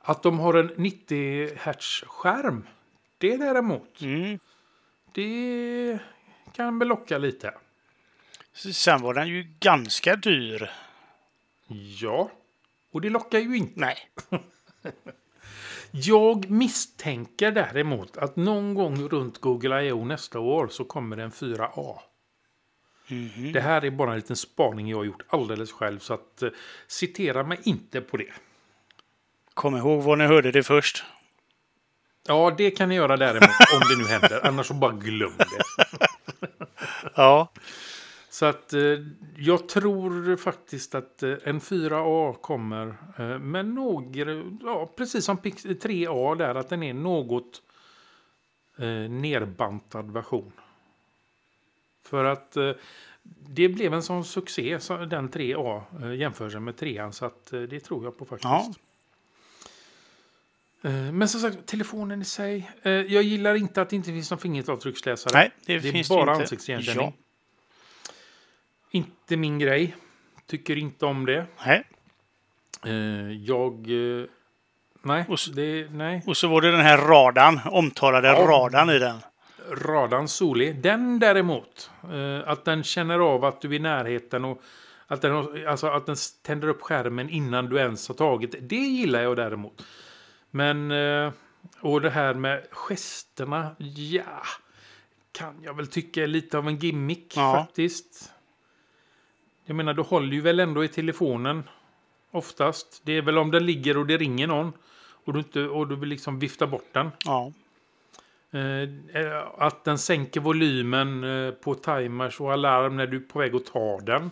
[SPEAKER 2] Att de har en 90 Hz-skärm, det däremot,
[SPEAKER 1] Mm.
[SPEAKER 2] det kan väl locka lite.
[SPEAKER 1] Sen var den ju ganska dyr.
[SPEAKER 2] Ja, och det lockar ju inte.
[SPEAKER 1] Nej.
[SPEAKER 2] Jag misstänker däremot att någon gång runt Google I.O. nästa år så kommer det en 4A. Det här är bara en liten spaning jag har gjort alldeles själv så att eh, citera mig inte på det.
[SPEAKER 1] Kom ihåg var ni hörde det först.
[SPEAKER 2] Ja, det kan ni göra däremot om det nu händer. Annars så bara glöm det.
[SPEAKER 1] Ja.
[SPEAKER 2] Så att eh, jag tror faktiskt att eh, en 4A kommer eh, med några, ja, precis som Pix- 3A där, att den är något eh, nerbantad version. För att eh, det blev en sån succé, så den 3A, eh, jämförelsen med 3an, så att eh, det tror jag på faktiskt.
[SPEAKER 1] Ja.
[SPEAKER 2] Eh, Men som sagt, telefonen i sig. eh, Jag gillar inte att det inte finns någon fingeravtrycksläsare.
[SPEAKER 1] Nej, det
[SPEAKER 2] är
[SPEAKER 1] finns det
[SPEAKER 2] bara
[SPEAKER 1] inte.
[SPEAKER 2] ansiktsigenkänning.
[SPEAKER 1] Ja.
[SPEAKER 2] Inte min grej. Tycker inte om det.
[SPEAKER 1] Nej.
[SPEAKER 2] Eh, Jag... eh, Nej,
[SPEAKER 1] Och så-
[SPEAKER 2] det, nej.
[SPEAKER 1] Och så var det den här radan, omtalade radan i den.
[SPEAKER 2] Radan Soli. Den däremot. eh, Att den känner av att du är i närheten och att den, har- alltså att den tänder upp skärmen innan du ens har tagit. Det gillar jag däremot. Men... eh, Och det här med gesterna. Ja. Kan jag väl tycka är lite av en gimmick
[SPEAKER 1] Ja.
[SPEAKER 2] faktiskt. Jag menar, du håller ju väl ändå i telefonen. Oftast. Det är väl om den ligger och det ringer någon. Och du, inte, och du vill liksom vifta bort den.
[SPEAKER 1] Ja.
[SPEAKER 2] Eh, eh, att den sänker volymen eh, på timers och alarm när du är på väg att ta den.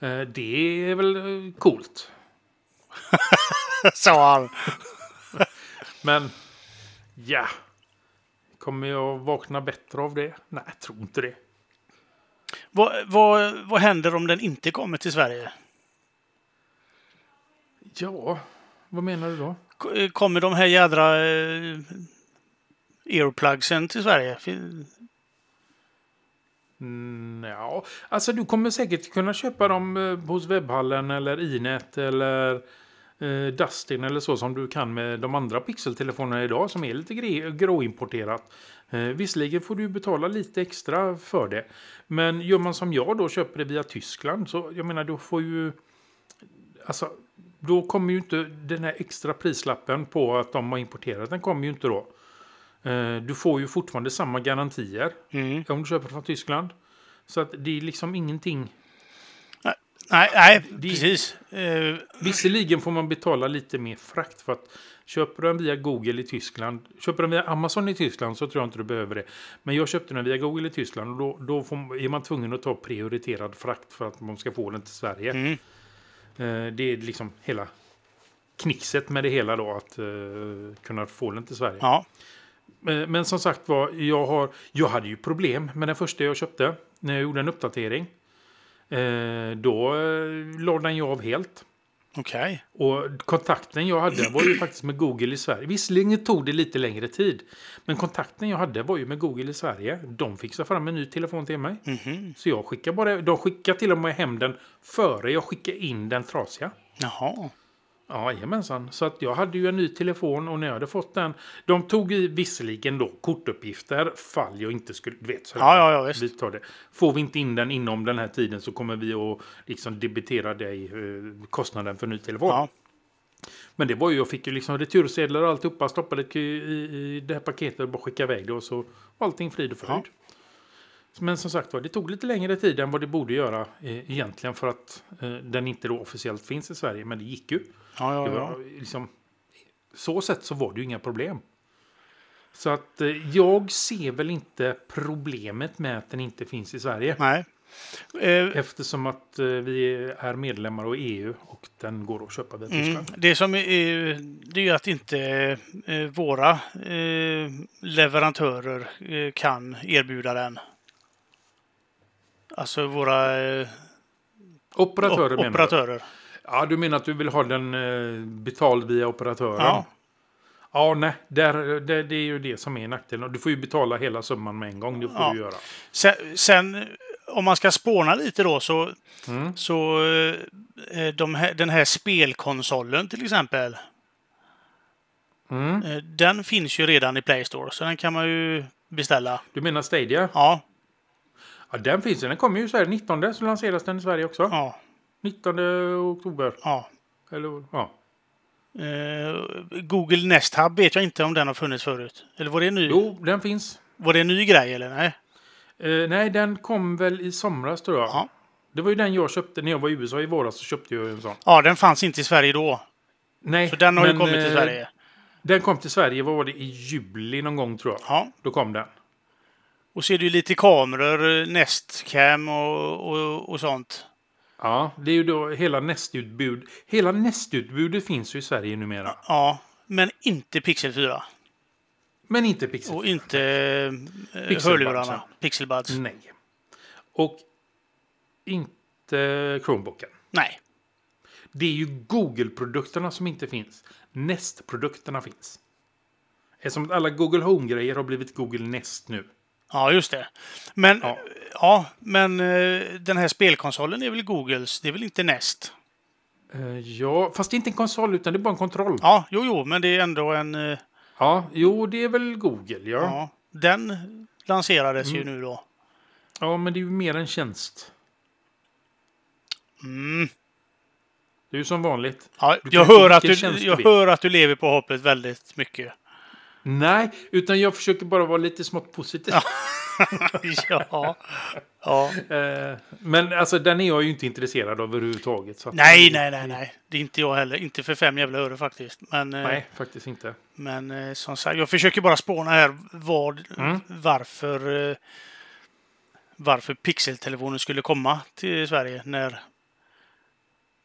[SPEAKER 2] Eh, det är väl eh, coolt.
[SPEAKER 1] Sa han.
[SPEAKER 2] Men ja, kommer jag vakna bättre av det? Nej, jag tror inte det.
[SPEAKER 1] Vad, vad, vad händer om den inte kommer till Sverige?
[SPEAKER 2] Ja, vad menar du då?
[SPEAKER 1] K- eh, Kommer de här jädra eh, earplugsen till Sverige? Fin-
[SPEAKER 2] Mm, ja, alltså du kommer säkert kunna köpa dem eh, hos webbhallen eller Inet eller eh, Dustin eller så som du kan med de andra pixeltelefonerna idag som är lite gre- gråimporterat. Eh, visserligen får du betala lite extra för det. Men gör man som jag då köper det via Tyskland så jag menar du får ju... Alltså, då kommer ju inte den här extra prislappen på att de har importerat den kommer ju inte då. Eh, du får ju fortfarande samma garantier
[SPEAKER 1] Mm.
[SPEAKER 2] om du köper från Tyskland. Så att det är liksom ingenting.
[SPEAKER 1] Nej, nej
[SPEAKER 2] Det-
[SPEAKER 1] precis. Eh,
[SPEAKER 2] Visserligen får man betala lite mer frakt för att köper du den via Google i Tyskland, köper du den via Amazon i Tyskland så tror jag inte du behöver det. Men jag köpte den via Google i Tyskland och då, då får, är man tvungen att ta prioriterad frakt för att man ska få den till Sverige.
[SPEAKER 1] Mm.
[SPEAKER 2] Eh, det är liksom hela knixet med det hela då att eh, kunna få den till Sverige.
[SPEAKER 1] ja.
[SPEAKER 2] Men Eh, men som sagt var, jag, har, jag hade ju problem med den första jag köpte när jag gjorde en uppdatering. Eh, då eh, la den ju av helt.
[SPEAKER 1] Okej.
[SPEAKER 2] Och kontakten jag hade var ju faktiskt med Google i Sverige. Visserligen tog det lite längre tid. Men kontakten jag hade var ju med Google i Sverige. De fixade fram en ny telefon till mig.
[SPEAKER 1] Mhm.
[SPEAKER 2] Så jag skickade bara, de skickade till och med hem den före jag skickade in den trasiga.
[SPEAKER 1] Jaha.
[SPEAKER 2] Ja, jajamensan. Så att jag hade ju en ny telefon och när jag hade fått den. De tog i visserligen då kortuppgifter fall jag inte skulle... Du vet, så
[SPEAKER 1] Ja, ja, ja, visst.
[SPEAKER 2] Vi tar det. Får vi inte in den inom den här tiden så kommer vi att liksom debitera dig eh, kostnaden för ny telefon.
[SPEAKER 1] Ja.
[SPEAKER 2] Men det var ju, jag fick ju liksom retursedlar och alltihopa. Stoppade det i, i det här paketet och bara skickade iväg det och så var allting frid och fröjd. Men som sagt var, det tog lite längre tid än vad det borde göra eh, egentligen för att eh, den inte då officiellt finns i Sverige. Men det gick ju.
[SPEAKER 1] Ja, ja,
[SPEAKER 2] Det
[SPEAKER 1] ja.
[SPEAKER 2] var, liksom, så sett så var det ju inga problem. Så att eh, jag ser väl inte problemet med att den inte finns i Sverige.
[SPEAKER 1] Nej. Eh,
[SPEAKER 2] Eftersom att eh, vi är medlemmar av EU och den går att köpa via
[SPEAKER 1] Mm.
[SPEAKER 2] Tyskland.
[SPEAKER 1] Det som är, eh, det är ju att inte eh, våra eh, leverantörer eh, kan erbjuda den. Alltså våra eh,
[SPEAKER 2] Operatörer
[SPEAKER 1] op-
[SPEAKER 2] menar du?
[SPEAKER 1] operatörer.
[SPEAKER 2] Ja, du menar att du vill ha den eh, betald via operatören?
[SPEAKER 1] Ja.
[SPEAKER 2] Ja, nej, där, där, det är ju det som är nackdelen. Och Du får ju betala hela summan med en gång, det får
[SPEAKER 1] Ja.
[SPEAKER 2] du göra.
[SPEAKER 1] Sen, sen om man ska spåna lite då så,
[SPEAKER 2] Mm.
[SPEAKER 1] så eh, de här, den här spelkonsolen till exempel.
[SPEAKER 2] Mm.
[SPEAKER 1] eh, Den finns ju redan i Play Store så den kan man ju beställa.
[SPEAKER 2] Du menar Stadia?
[SPEAKER 1] Ja,
[SPEAKER 2] Ja, den finns ju. Den kommer ju i Sverige 19, så lanseras den i Sverige också.
[SPEAKER 1] ja,
[SPEAKER 2] 19 oktober.
[SPEAKER 1] ja.
[SPEAKER 2] Eller, ja.
[SPEAKER 1] Eh, Google Nest Hub vet jag inte om den har funnits förut. Eller var det en ny,
[SPEAKER 2] Jo, den finns.
[SPEAKER 1] var det en ny grej eller? Nej.
[SPEAKER 2] Eh, nej, den kom väl i somras tror jag.
[SPEAKER 1] Ja.
[SPEAKER 2] Det var ju den jag köpte när jag var i USA i våras. Så köpte jag en sån.
[SPEAKER 1] ja, den fanns inte i Sverige då.
[SPEAKER 2] Nej,
[SPEAKER 1] Så den har
[SPEAKER 2] men,
[SPEAKER 1] ju kommit till
[SPEAKER 2] eh,
[SPEAKER 1] Sverige.
[SPEAKER 2] Den kom till Sverige, vad var det, i juli någon gång tror jag.
[SPEAKER 1] Ja.
[SPEAKER 2] Då kom den.
[SPEAKER 1] Och ser du lite kameror, eh, Nest Cam och, och, och sånt.
[SPEAKER 2] Ja, det är ju då hela nästutbud. Hela nästutbudet finns ju i Sverige numera.
[SPEAKER 1] Ja, men inte Pixel 4.
[SPEAKER 2] Men inte Pixel.
[SPEAKER 1] Och inte eh,
[SPEAKER 2] Pixelbuds,
[SPEAKER 1] hörlurarna.
[SPEAKER 2] ja. Mm.
[SPEAKER 1] Pixelbuds.
[SPEAKER 2] Nej. Och inte Chromebooken.
[SPEAKER 1] Nej.
[SPEAKER 2] Det är ju Google-produkterna som inte finns. Nest-produkterna finns. Eftersom att alla Google Home-grejer har blivit Google Nest nu.
[SPEAKER 1] Ja, just det. Men, ja.
[SPEAKER 2] Ja.
[SPEAKER 1] men eh, den här spelkonsolen är väl Googles? Det är väl inte Nest?
[SPEAKER 2] Eh, ja, fast det är inte en konsol utan det är bara en kontroll. Ja,
[SPEAKER 1] Ja, jo, jo, men det är ändå en... eh,
[SPEAKER 2] jo, det är väl Google, ja. ja. Mm.
[SPEAKER 1] Ja, den lanserades ju nu då.
[SPEAKER 2] men det är ju mer en tjänst.
[SPEAKER 1] Mm.
[SPEAKER 2] Det är ju som vanligt.
[SPEAKER 1] Ja,
[SPEAKER 2] Du kan
[SPEAKER 1] jag
[SPEAKER 2] få
[SPEAKER 1] hör, att
[SPEAKER 2] vilken
[SPEAKER 1] du,
[SPEAKER 2] tjänst du
[SPEAKER 1] jag
[SPEAKER 2] vill.
[SPEAKER 1] hör att du lever på hoppet väldigt mycket.
[SPEAKER 2] Nej, utan jag försöker bara vara lite smått positiv.
[SPEAKER 1] ja. ja.
[SPEAKER 2] Eh, men alltså, den är jag ju inte intresserad av överhuvudtaget. Så att-
[SPEAKER 1] Nej, nej, nej, nej. Det är inte jag heller. Inte för fem jävla öre faktiskt. Men, eh,
[SPEAKER 2] Nej, faktiskt inte.
[SPEAKER 1] men eh, som sagt, jag försöker bara spåna här vad,
[SPEAKER 2] Mm.
[SPEAKER 1] varför, eh, varför pixeltelefonen skulle komma till Sverige när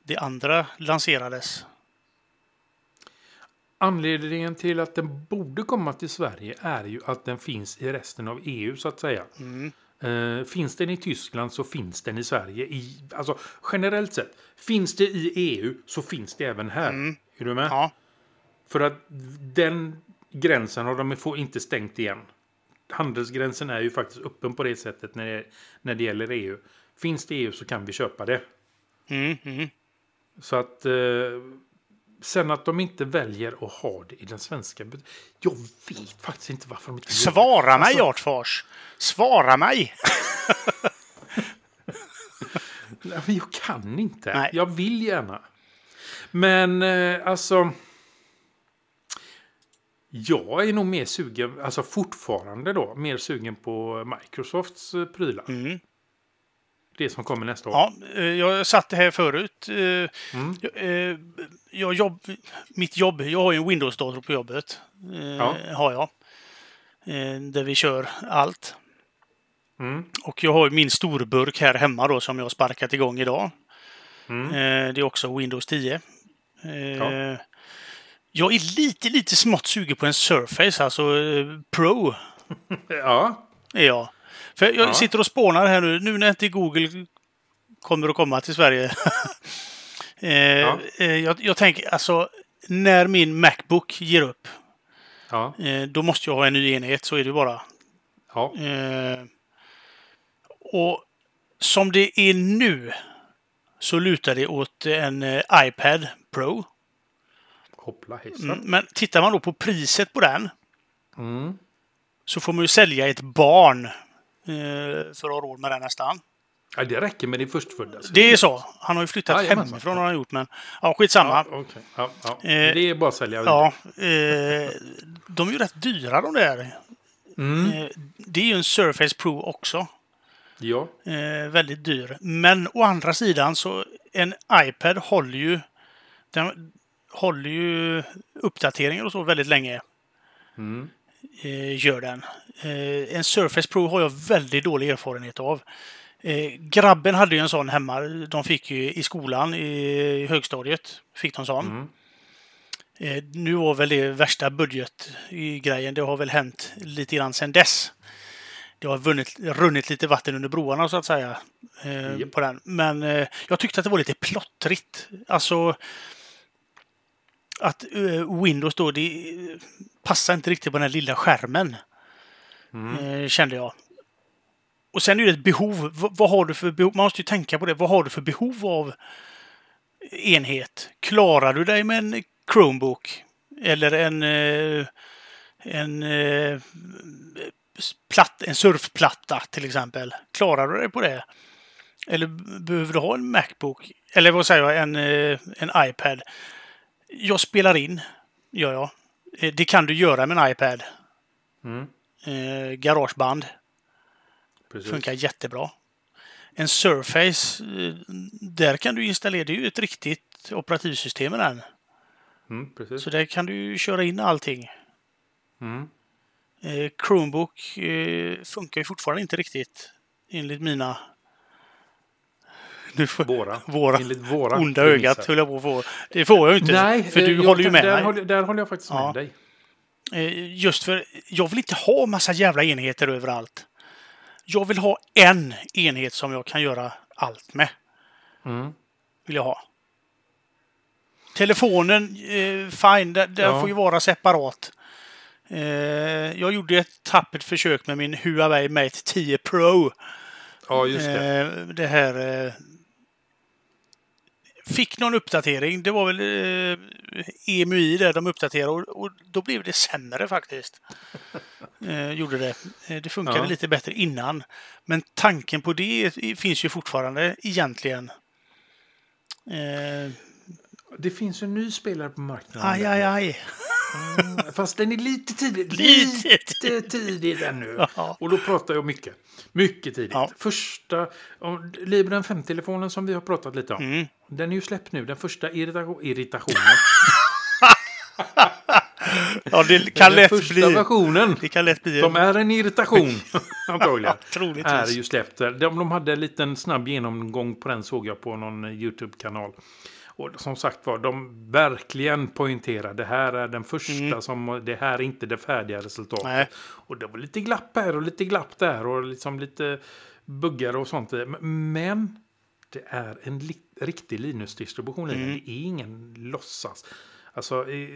[SPEAKER 1] det andra lanserades.
[SPEAKER 2] Anledningen till E att den borde komma till Sverige är ju att den finns i resten av EU så att säga. Eh, finns den i Tyskland så finns den i Sverige. I, alltså, generellt sett, finns det i EU så finns det även här. Är du med?
[SPEAKER 1] Ja.
[SPEAKER 2] För att den gränsen har de få inte stängt igen. Handelsgränsen är ju faktiskt öppen på det sättet när det, när det gäller EU. Finns det EU så kan vi köpa det.
[SPEAKER 1] Mm, mm.
[SPEAKER 2] Så att... Eh, sen att de inte väljer att ha det i den svenska... but- Jag vet faktiskt inte varför de inte... gör det.
[SPEAKER 1] Svara mig,
[SPEAKER 2] Alltså-
[SPEAKER 1] Artfors! Svara mig!
[SPEAKER 2] Nej, men jag kan inte.
[SPEAKER 1] Nej.
[SPEAKER 2] Jag vill gärna. Men eh, alltså... Jag är nog mer sugen, alltså fortfarande då, mer sugen på Microsofts eh, prylar.
[SPEAKER 1] Mm.
[SPEAKER 2] Det som kommer nästa år.
[SPEAKER 1] Ja, eh, jag satt här förut. eh,
[SPEAKER 2] Mm.
[SPEAKER 1] Jag, eh, jag jobb, mitt jobb, jag har ju en Windows-dator på jobbet. eh,
[SPEAKER 2] Ja.
[SPEAKER 1] Har jag. Eh, Där vi kör allt.
[SPEAKER 2] Mm.
[SPEAKER 1] Och jag har ju min storburk här hemma då som jag har sparkat igång idag. Eh, Det är också Windows 10. Eh,
[SPEAKER 2] Mm. Ja.
[SPEAKER 1] Jag är lite, lite smått sugen på en Surface, alltså eh, Pro
[SPEAKER 2] Eh, Ja,
[SPEAKER 1] är jag. För jag
[SPEAKER 2] Ja.
[SPEAKER 1] sitter och spånar här nu, nu när inte Google kommer att komma till Sverige. eh, eh, jag, jag tänker alltså, när min Macbook ger upp,
[SPEAKER 2] ja,
[SPEAKER 1] eh, då måste jag ha en ny enhet, så är det bara.
[SPEAKER 2] ja.
[SPEAKER 1] Eh, och som det är nu så lutar det åt en eh, iPad Pro.
[SPEAKER 2] Hoppla hejsan.
[SPEAKER 1] Mm, Men tittar man då på priset på den så får man ju sälja ett barn eh, för att ha råd med den nästan.
[SPEAKER 2] Ja, det räcker med det förstfödda. så-
[SPEAKER 1] Det är så. Han har ju flyttat
[SPEAKER 2] Ja, jajamensan.
[SPEAKER 1] hemifrån har han gjort, men ja, skitsamma.
[SPEAKER 2] Okej, ja, ja. Det är bara att sälja vidare.
[SPEAKER 1] Eh, Ja, eh, de är ju rätt dyra de där. Eh, det är ju en Surface Pro också.
[SPEAKER 2] Ja.
[SPEAKER 1] Eh, väldigt dyr. Men å andra sidan så en iPad håller ju, den håller ju uppdateringar och så väldigt länge. Eh, gör den. Eh, en Surface Pro har jag väldigt dålig erfarenhet av. Eh, grabben hade ju en sån hemma. De fick ju i skolan, i högstadiet, fick de sån. Eh, nu var väl det värsta budgetgrejen. Det har väl hänt lite grann sedan dess det har vunnit, runnit lite vatten under broarna så att säga. Eh,
[SPEAKER 2] Japp.
[SPEAKER 1] på den. Men eh, jag tyckte att det var lite plottrigt. Alltså att eh, Windows då, det eh, passar inte riktigt på den här lilla skärmen. Eh, kände jag. Och sen är det ett behov. V- vad har du för behov? Man måste ju tänka på det. Vad har du för behov av enhet? Klarar du dig med en Chromebook? Eller en, eh, en eh, platt, en surfplatta till exempel. Klarar du dig på det? Eller b- behöver du ha en Macbook? Eller vad säger jag, en, eh, en iPad? Jag spelar in, gör jag. Eh, Det kan du göra med en iPad. Eh, garageband
[SPEAKER 2] Precis.
[SPEAKER 1] funkar jättebra. En Surface, eh, där kan du installera, det är ju ett riktigt operativsystem i den.
[SPEAKER 2] Mm, precis.
[SPEAKER 1] Så där kan du ju köra in allting.
[SPEAKER 2] Mm.
[SPEAKER 1] Eh, Chromebook eh, funkar ju fortfarande inte riktigt enligt mina... Nu får...
[SPEAKER 2] Våra.
[SPEAKER 1] Våra.
[SPEAKER 2] Enligt våra
[SPEAKER 1] Onda
[SPEAKER 2] premisser.
[SPEAKER 1] ögat höll jag på att få. Det får jag ju inte.
[SPEAKER 2] Nej,
[SPEAKER 1] för
[SPEAKER 2] eh,
[SPEAKER 1] du
[SPEAKER 2] jag
[SPEAKER 1] håller ju
[SPEAKER 2] kan-
[SPEAKER 1] med
[SPEAKER 2] där
[SPEAKER 1] mig.
[SPEAKER 2] Håller, där håller jag faktiskt
[SPEAKER 1] Ja.
[SPEAKER 2] med dig.
[SPEAKER 1] Eh, Just för jag vill inte ha massa jävla enheter överallt. Jag vill ha en enhet som jag kan göra allt med. Vill jag ha. Telefonen, eh, fine, den, den
[SPEAKER 2] Ja.
[SPEAKER 1] får ju vara separat. Eh, jag gjorde ett tappert försök med min Huawei Mate 10 Pro.
[SPEAKER 2] Ja, just det.
[SPEAKER 1] Eh, det här... Eh, fick någon uppdatering. Det var väl eh, EMUI där de uppdaterade och, och då blev det sämre faktiskt. Eh, gjorde det. Eh, det funkade
[SPEAKER 2] Ja.
[SPEAKER 1] lite bättre innan. Men tanken på det i- finns ju fortfarande egentligen. Eh,
[SPEAKER 2] Det finns ju en ny spelare på marknaden.
[SPEAKER 1] aj, aj, aj.
[SPEAKER 2] Fast den är lite tidigt.
[SPEAKER 1] Lite
[SPEAKER 2] Lite tidigt ännu.
[SPEAKER 1] Ja.
[SPEAKER 2] Och då pratar jag mycket. Mycket tidigt.
[SPEAKER 1] Ja.
[SPEAKER 2] Första... om- Librem 5-telefonen som vi har pratat lite om.
[SPEAKER 1] Mm.
[SPEAKER 2] Den är ju släppt nu. Den första irritation, irritationen.
[SPEAKER 1] Ja, det kan
[SPEAKER 2] den
[SPEAKER 1] lätt
[SPEAKER 2] första
[SPEAKER 1] bli...
[SPEAKER 2] versionen.
[SPEAKER 1] Det kan lätt bli...
[SPEAKER 2] Som är en irritation, antagligen.
[SPEAKER 1] Troligtvis.
[SPEAKER 2] Är ju släppt. De, de hade en liten snabb genomgång på den såg jag på någon eh, YouTube-kanal. Och som sagt var, de verkligen poängterar det här är den första som det här är inte det färdiga resultatet.
[SPEAKER 1] Mm. Nej.
[SPEAKER 2] Och det var lite glapp här och lite glapp där och liksom lite buggar och sånt. i. Men det är en li- riktig Linux-distribution. i
[SPEAKER 1] Mm.
[SPEAKER 2] den. Det är ingen låtsas. Alltså, eh,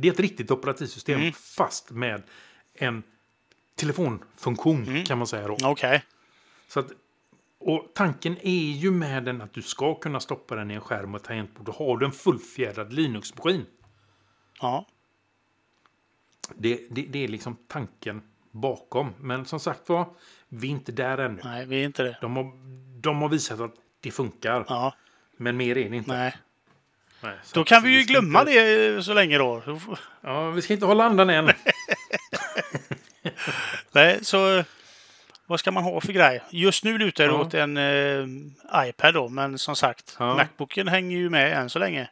[SPEAKER 2] det är ett riktigt operativsystem
[SPEAKER 1] Mm.
[SPEAKER 2] fast med en telefonfunktion
[SPEAKER 1] Mm.
[SPEAKER 2] kan man säga då.
[SPEAKER 1] Okej.
[SPEAKER 2] Så att, och tanken är ju med den att du ska kunna stoppa den i en skärm och tangentbord. Då har du en fullfjädrad Linux-maskin.
[SPEAKER 1] Ja.
[SPEAKER 2] Det, det, det är liksom tanken bakom. Men som sagt var, vi är inte där ännu.
[SPEAKER 1] Nej, vi är inte det.
[SPEAKER 2] De har, de har visat att det funkar,
[SPEAKER 1] Ja.
[SPEAKER 2] men mer är det inte.
[SPEAKER 1] Nej.
[SPEAKER 2] Nej, så
[SPEAKER 1] Då
[SPEAKER 2] att
[SPEAKER 1] kan vi ju
[SPEAKER 2] ska
[SPEAKER 1] glömma
[SPEAKER 2] inte,
[SPEAKER 1] det eh, så länge då.
[SPEAKER 2] Ja, vi ska inte hålla andan än.
[SPEAKER 1] Nej, så eh, vad ska man ha för grej? Just nu lutar det
[SPEAKER 2] Ja.
[SPEAKER 1] åt en eh, iPad då, men som sagt,
[SPEAKER 2] Ja.
[SPEAKER 1] Macbooken hänger ju med än så länge.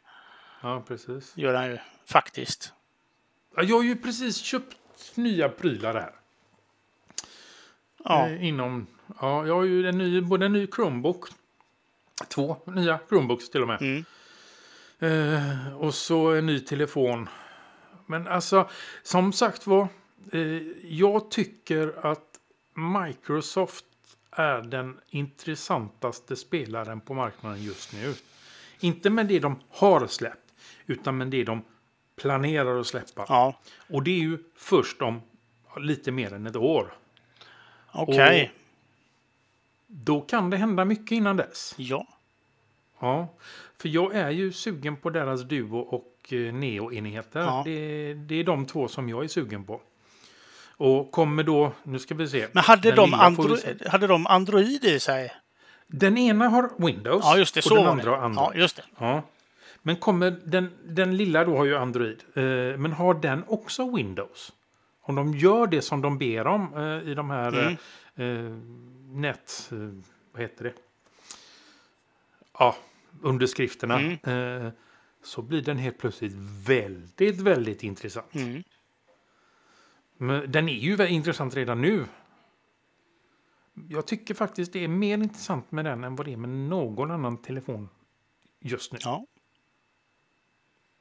[SPEAKER 2] ja, precis.
[SPEAKER 1] Gör den ju faktiskt.
[SPEAKER 2] Ja, jag har ju precis köpt nya prylar här.
[SPEAKER 1] Ja.
[SPEAKER 2] Eh, Inom, ja, jag har ju en ny, både en ny Chromebook. Två nya Chromebooks till och med.
[SPEAKER 1] Mm.
[SPEAKER 2] Eh, och så en ny telefon. Men alltså, som sagt var. Eh, jag tycker att Microsoft är den intressantaste spelaren på marknaden just nu. Inte med det de har släppt, utan med det de planerar att släppa.
[SPEAKER 1] Ja.
[SPEAKER 2] Och det är ju först om lite mer än ett år.
[SPEAKER 1] Okej.
[SPEAKER 2] Och- Då kan det hända mycket innan dess.
[SPEAKER 1] Ja.
[SPEAKER 2] Ja, för jag är ju sugen på deras Duo och eh, Neo-enheter.
[SPEAKER 1] Ja.
[SPEAKER 2] Det, det är de två som jag är sugen på. Och kommer då, nu ska vi se.
[SPEAKER 1] Men hade
[SPEAKER 2] Den
[SPEAKER 1] de,
[SPEAKER 2] lilla får vi se.
[SPEAKER 1] andro- hade de Android i sig?
[SPEAKER 2] Den ena har Windows
[SPEAKER 1] Ja, just det.
[SPEAKER 2] och
[SPEAKER 1] Så
[SPEAKER 2] den
[SPEAKER 1] var
[SPEAKER 2] andra
[SPEAKER 1] det.
[SPEAKER 2] har Android.
[SPEAKER 1] Ja, just det.
[SPEAKER 2] Ja. Men kommer den, den lilla då har ju Android. Eh, men har den också Windows? Om de gör det som de ber om eh, i de här
[SPEAKER 1] Mm.
[SPEAKER 2] eh, eh, nät... Eh, vad heter det? Ja, underskrifterna.
[SPEAKER 1] Mm.
[SPEAKER 2] Eh, så blir den helt plötsligt väldigt, väldigt intressant.
[SPEAKER 1] Mm.
[SPEAKER 2] Men den är ju väldigt intressant redan nu. Jag tycker faktiskt det är mer intressant med den än vad det är med någon annan telefon just nu.
[SPEAKER 1] Ja.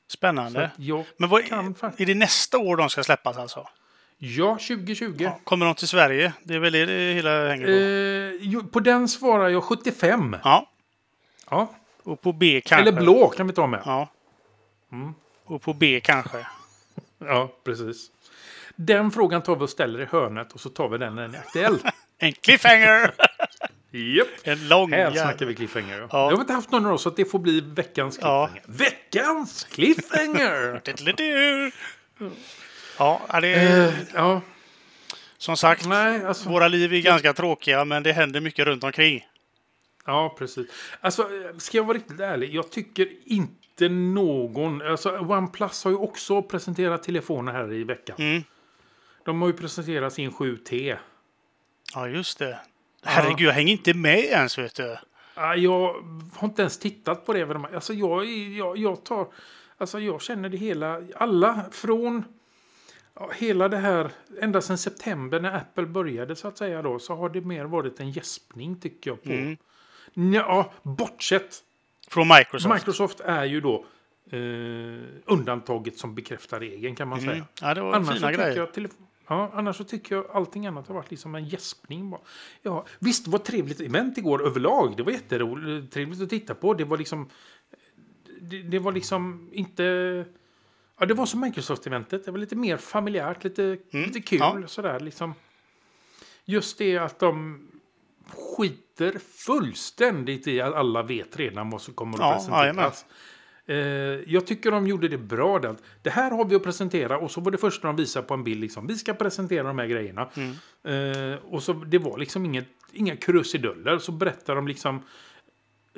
[SPEAKER 2] Så
[SPEAKER 1] Spännande.
[SPEAKER 2] att jag
[SPEAKER 1] Men vad,
[SPEAKER 2] kan faktiskt...
[SPEAKER 1] är det nästa år de ska släppas alltså?
[SPEAKER 2] Ja, 2020.
[SPEAKER 1] Ja. Kommer de till Sverige? Det är väl det det hela hänger på?
[SPEAKER 2] Eh, jo, på den svarar jag 75.
[SPEAKER 1] Ja.
[SPEAKER 2] Ja.
[SPEAKER 1] Och på B kanske?
[SPEAKER 2] Eller blå kan vi ta med. Ja.
[SPEAKER 1] Ja.
[SPEAKER 2] Mm.
[SPEAKER 1] Och på B kanske?
[SPEAKER 2] precis. Den frågan tar vi och ställer i hörnet och så tar vi den när den är aktuell.
[SPEAKER 1] En cliffhanger!
[SPEAKER 2] Japp.
[SPEAKER 1] en lång
[SPEAKER 2] Här
[SPEAKER 1] jävla-
[SPEAKER 2] snackar vi cliffhanger. Ja.
[SPEAKER 1] Ja.
[SPEAKER 2] Jag har inte haft någon av oss så att det får bli veckans
[SPEAKER 1] Ja.
[SPEAKER 2] cliffhanger. Veckans cliffhanger!
[SPEAKER 1] Diddelidu. Ja, ja, det är,
[SPEAKER 2] Mm. Eh, ja,
[SPEAKER 1] som sagt,
[SPEAKER 2] nej, alltså.
[SPEAKER 1] våra liv är ganska tråkiga men det händer mycket runt omkring.
[SPEAKER 2] Ja, precis. Alltså, ska jag vara riktigt ärlig, jag tycker inte någon... Alltså, OnePlus har ju också presenterat telefoner här i veckan.
[SPEAKER 1] Mm.
[SPEAKER 2] De har ju presenterat sin 7T.
[SPEAKER 1] Ja, just det. Herregud, jag hänger inte med ens vet du.
[SPEAKER 2] Ah, Jag har inte ens tittat på det. vad de har- Alltså, jag, är- jag, jag tar... Alltså, jag känner det hela... Alla från... Ja, hela det här, ända sedan september när Apple började så att säga då, så har det mer varit en gäspning tycker jag på.
[SPEAKER 1] Mm.
[SPEAKER 2] Ja, bortsett
[SPEAKER 1] Från Microsoft.
[SPEAKER 2] Microsoft är ju då eh, undantaget som bekräftar regeln kan man
[SPEAKER 1] Mm.
[SPEAKER 2] säga.
[SPEAKER 1] Ja, det var
[SPEAKER 2] Annars så,
[SPEAKER 1] fina
[SPEAKER 2] tycker
[SPEAKER 1] grejer.
[SPEAKER 2] jag telef- ja, annars så tycker jag allting annat har varit liksom en gäspning. bara. Ja, visst, det var ett trevligt event igår överlag. Det var jätteroligt trevligt att titta på. Det var liksom... Det, det var liksom inte... Ja, det var som Microsoft-eventet. Det var lite mer familjärt, lite, lite kul.
[SPEAKER 1] Mm. ja.
[SPEAKER 2] Sådär, liksom. Just det att de skiter fullständigt i att alla vet redan vad som kommer att
[SPEAKER 1] Ja,
[SPEAKER 2] presenteras. Eh, jag tycker de gjorde det bra. där. Det här har vi att presentera och så var det första de visade på en bild. Liksom. Vi ska presentera de här grejerna. Eh, och så, det var liksom inget, inga krusiduller. Så berättar de liksom...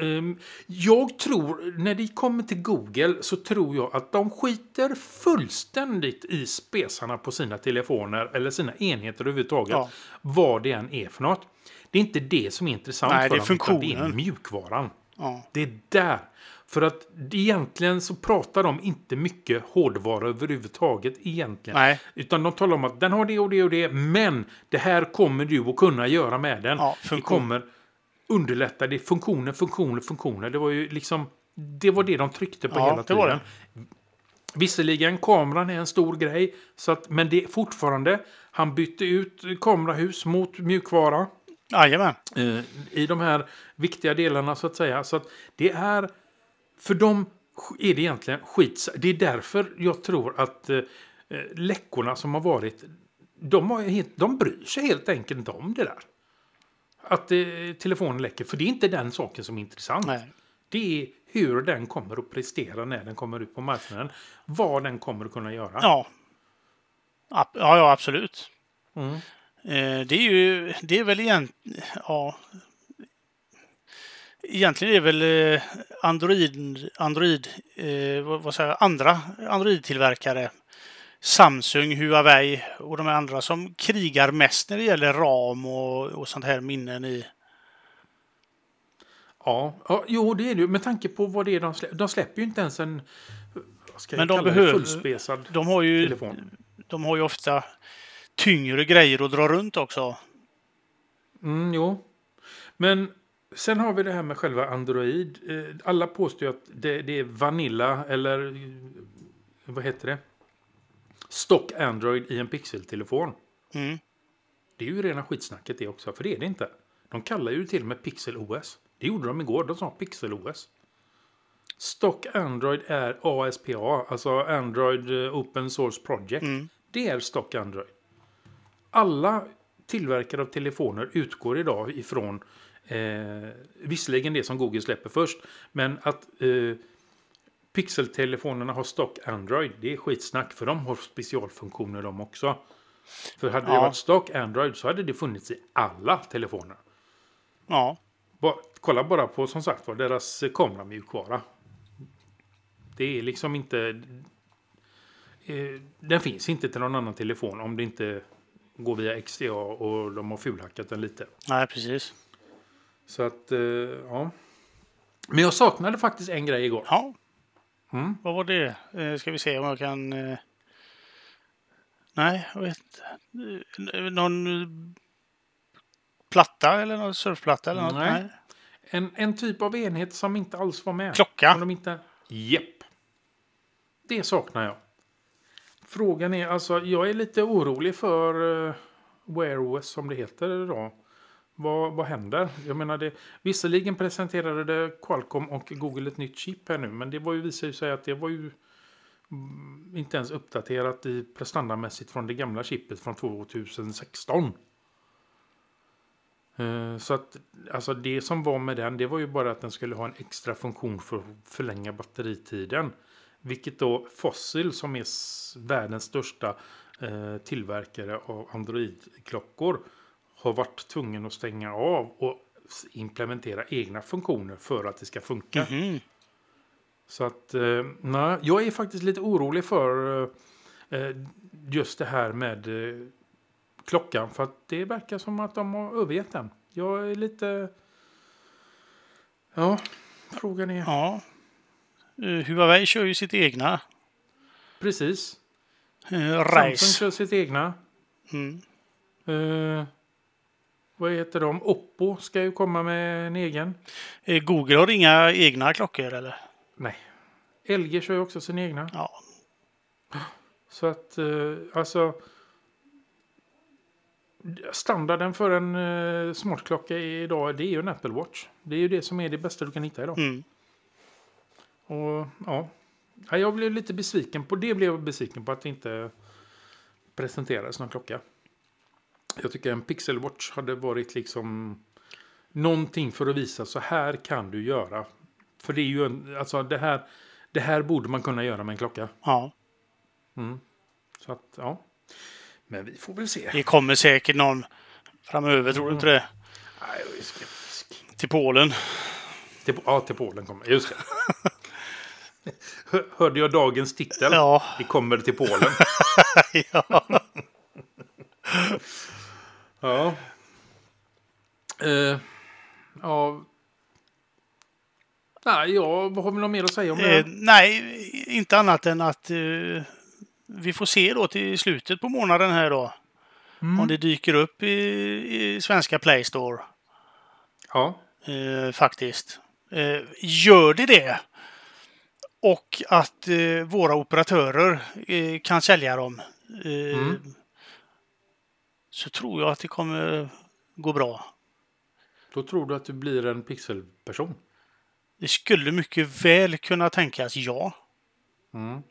[SPEAKER 2] ehm, jag tror, när det kommer till Google, så tror jag att de skiter fullständigt i spesarna på sina telefoner eller sina enheter överhuvudtaget.
[SPEAKER 1] Ja.
[SPEAKER 2] Vad det än är för något. Det är inte det som är intressant
[SPEAKER 1] Nej,
[SPEAKER 2] för
[SPEAKER 1] det är
[SPEAKER 2] dem, utan det är
[SPEAKER 1] funktionen.
[SPEAKER 2] mjukvaran.
[SPEAKER 1] Ja.
[SPEAKER 2] Det är där. För att det- egentligen så pratar de inte mycket hårdvara överhuvudtaget egentligen.
[SPEAKER 1] Nej.
[SPEAKER 2] Utan de talar om att den har det och det och det, men det här kommer du att kunna göra med den.
[SPEAKER 1] Ja,
[SPEAKER 2] det
[SPEAKER 1] funktion.
[SPEAKER 2] kommer underlätta, det är funktioner, funktioner, funktioner. Det var ju liksom Det var det de tryckte på
[SPEAKER 1] Ja,
[SPEAKER 2] hela
[SPEAKER 1] det
[SPEAKER 2] tiden.
[SPEAKER 1] var
[SPEAKER 2] Visserligen, kameran är en stor grej. Så att, men det är fortfarande, han bytte ut kamerahus mot mjukvara
[SPEAKER 1] Jajamän.
[SPEAKER 2] eh, i de här viktiga delarna så att säga. Så att det är, för dem sk- är det egentligen skits. Det är därför jag tror att eh, eh, läckorna som har varit, de, har, helt- de bryr sig helt enkelt inte om det där. Att eh, telefonen läcker, för det är inte den saken som är intressant.
[SPEAKER 1] Nej.
[SPEAKER 2] Det är hur den kommer att prestera när den kommer ut på marknaden. Vad den kommer att kunna göra.
[SPEAKER 1] Ja. Ab- Ja, ja absolut.
[SPEAKER 2] Mm.
[SPEAKER 1] Eh, Det är ju, det är väl egentligen, ja. Egentligen är väl eh, Android, Android eh, vad, vad säger jag, andra Android-tillverkare, Samsung, Huawei och de andra som krigar mest när det gäller RAM och, och sånt här minnen i.
[SPEAKER 2] Ja, ja, jo det är det ju. Med tanke på vad det är de släpper. De släpper ju inte ens en vad ska jag
[SPEAKER 1] Men de
[SPEAKER 2] kalla det?
[SPEAKER 1] behöver-
[SPEAKER 2] fullspesad
[SPEAKER 1] De har ju,
[SPEAKER 2] telefon.
[SPEAKER 1] de har ju ofta tyngre grejer att dra runt också.
[SPEAKER 2] Mm, jo. Men sen har vi det här med själva Android. Eh, Alla påstår ju att det, det är Vanilla eller eh, vad heter det? Stock Android i en pixeltelefon.
[SPEAKER 1] Mm.
[SPEAKER 2] Det är ju rena skitsnacket det också, för det är det inte. De kallar ju till och med Pixel OS. Det gjorde de igår, de sa Pixel OS. Stock Android är ASPA, alltså Android eh, Open Source Project.
[SPEAKER 1] Mm.
[SPEAKER 2] Det är Stock Android. Alla tillverkare av telefoner utgår idag ifrån, eh, visserligen det som Google släpper först, men att eh, pixeltelefonerna har Stock Android, det är skitsnack, för de har specialfunktioner de också. För hade det
[SPEAKER 1] Ja.
[SPEAKER 2] varit Stock Android så hade det funnits i alla telefoner.
[SPEAKER 1] Ja.
[SPEAKER 2] Bara, kolla bara på som sagt var deras eh, kameramjukvara. Det är liksom inte... Eh, den finns inte till någon annan telefon om det inte går via XDA och de har fulhackat den lite.
[SPEAKER 1] Nej, precis.
[SPEAKER 2] Så att, eh, ja. Men jag saknade faktiskt en grej igår.
[SPEAKER 1] Ja.
[SPEAKER 2] Mm.
[SPEAKER 1] Vad var det? Eh, Ska vi se om jag kan... eh, Nej, jag vet inte. Eh, n- Någon eh, platta eller någon surfplatta eller något?
[SPEAKER 2] Nej. En, en typ av enhet som inte alls var med.
[SPEAKER 1] Klocka.
[SPEAKER 2] Som de inte... Jepp. Det saknar jag. Frågan är, alltså jag är lite orolig för uh, Wear OS som det heter idag. Vad, vad händer? Jag menar det, visserligen presenterade det Qualcomm och Google ett nytt chip här nu, men det var ju, visade ju sig att det var ju mm, inte ens uppdaterat i prestandamässigt från det gamla chipet från 2016. Eh, Så att alltså det som var med den, det var ju bara att den skulle ha en extra funktion för att förlänga batteritiden. Vilket då Fossil, som är s- världens största eh, tillverkare av Android-klockor, har varit tvungen att stänga av och s- implementera egna funktioner för att det ska funka.
[SPEAKER 1] Mhm.
[SPEAKER 2] Så att, eh, nej, jag är faktiskt lite orolig för eh, eh, just det här med eh, klockan. För att det verkar som att de har övergett den. Jag är lite... Ja, frågan är...
[SPEAKER 1] Ja. Eh, Huawei kör ju sitt egna
[SPEAKER 2] Precis.
[SPEAKER 1] eh,
[SPEAKER 2] Samsung
[SPEAKER 1] race.
[SPEAKER 2] kör sitt egna.
[SPEAKER 1] Mm.
[SPEAKER 2] Eh, vad heter de? Oppo ska ju komma med en egen.
[SPEAKER 1] Eh, Google har inga egna klockor eller?
[SPEAKER 2] Nej. LG kör ju också sin egna.
[SPEAKER 1] Ja.
[SPEAKER 2] Så att, eh, alltså... Standarden för en eh, smartklocka i- idag, det är ju en Apple Watch. Det är ju det som är det bästa du kan hitta idag.
[SPEAKER 1] Mm.
[SPEAKER 2] Och ja, Ja, jag blev lite besviken på det. blev jag besviken på att det inte presenterades någon klocka. Jag tycker en Pixel Watch hade varit liksom någonting för att visa så här kan du göra. För det är ju en, alltså det här, det här borde man kunna göra med en klocka.
[SPEAKER 1] ja.
[SPEAKER 2] Så att ja. Men vi får väl se.
[SPEAKER 1] Det kommer säkert någon framöver,
[SPEAKER 2] Mm.
[SPEAKER 1] tror du inte det?
[SPEAKER 2] Nej, jag är skeptisk.
[SPEAKER 1] Till Polen.
[SPEAKER 2] Till, ja, till Polen kommer Just det. Hör- Hörde jag dagens titel?
[SPEAKER 1] Ja.
[SPEAKER 2] Det kommer till Polen.
[SPEAKER 1] ja.
[SPEAKER 2] Ja. Eh, ja. Nej, ja, vad har vi något mer att säga om det?
[SPEAKER 1] Eh,
[SPEAKER 2] här?
[SPEAKER 1] nej, inte annat än att eh, vi får se då till slutet på månaden här då. Om det dyker upp i, i svenska Play Store
[SPEAKER 2] Ja.
[SPEAKER 1] eh, faktiskt. Eh, gör det det Och att eh, våra operatörer eh, kan sälja dem. Eh, Så tror jag att det kommer gå bra.
[SPEAKER 2] Då tror du att du blir en pixelperson.
[SPEAKER 1] Det skulle mycket väl kunna tänkas, ja.
[SPEAKER 2] Mm.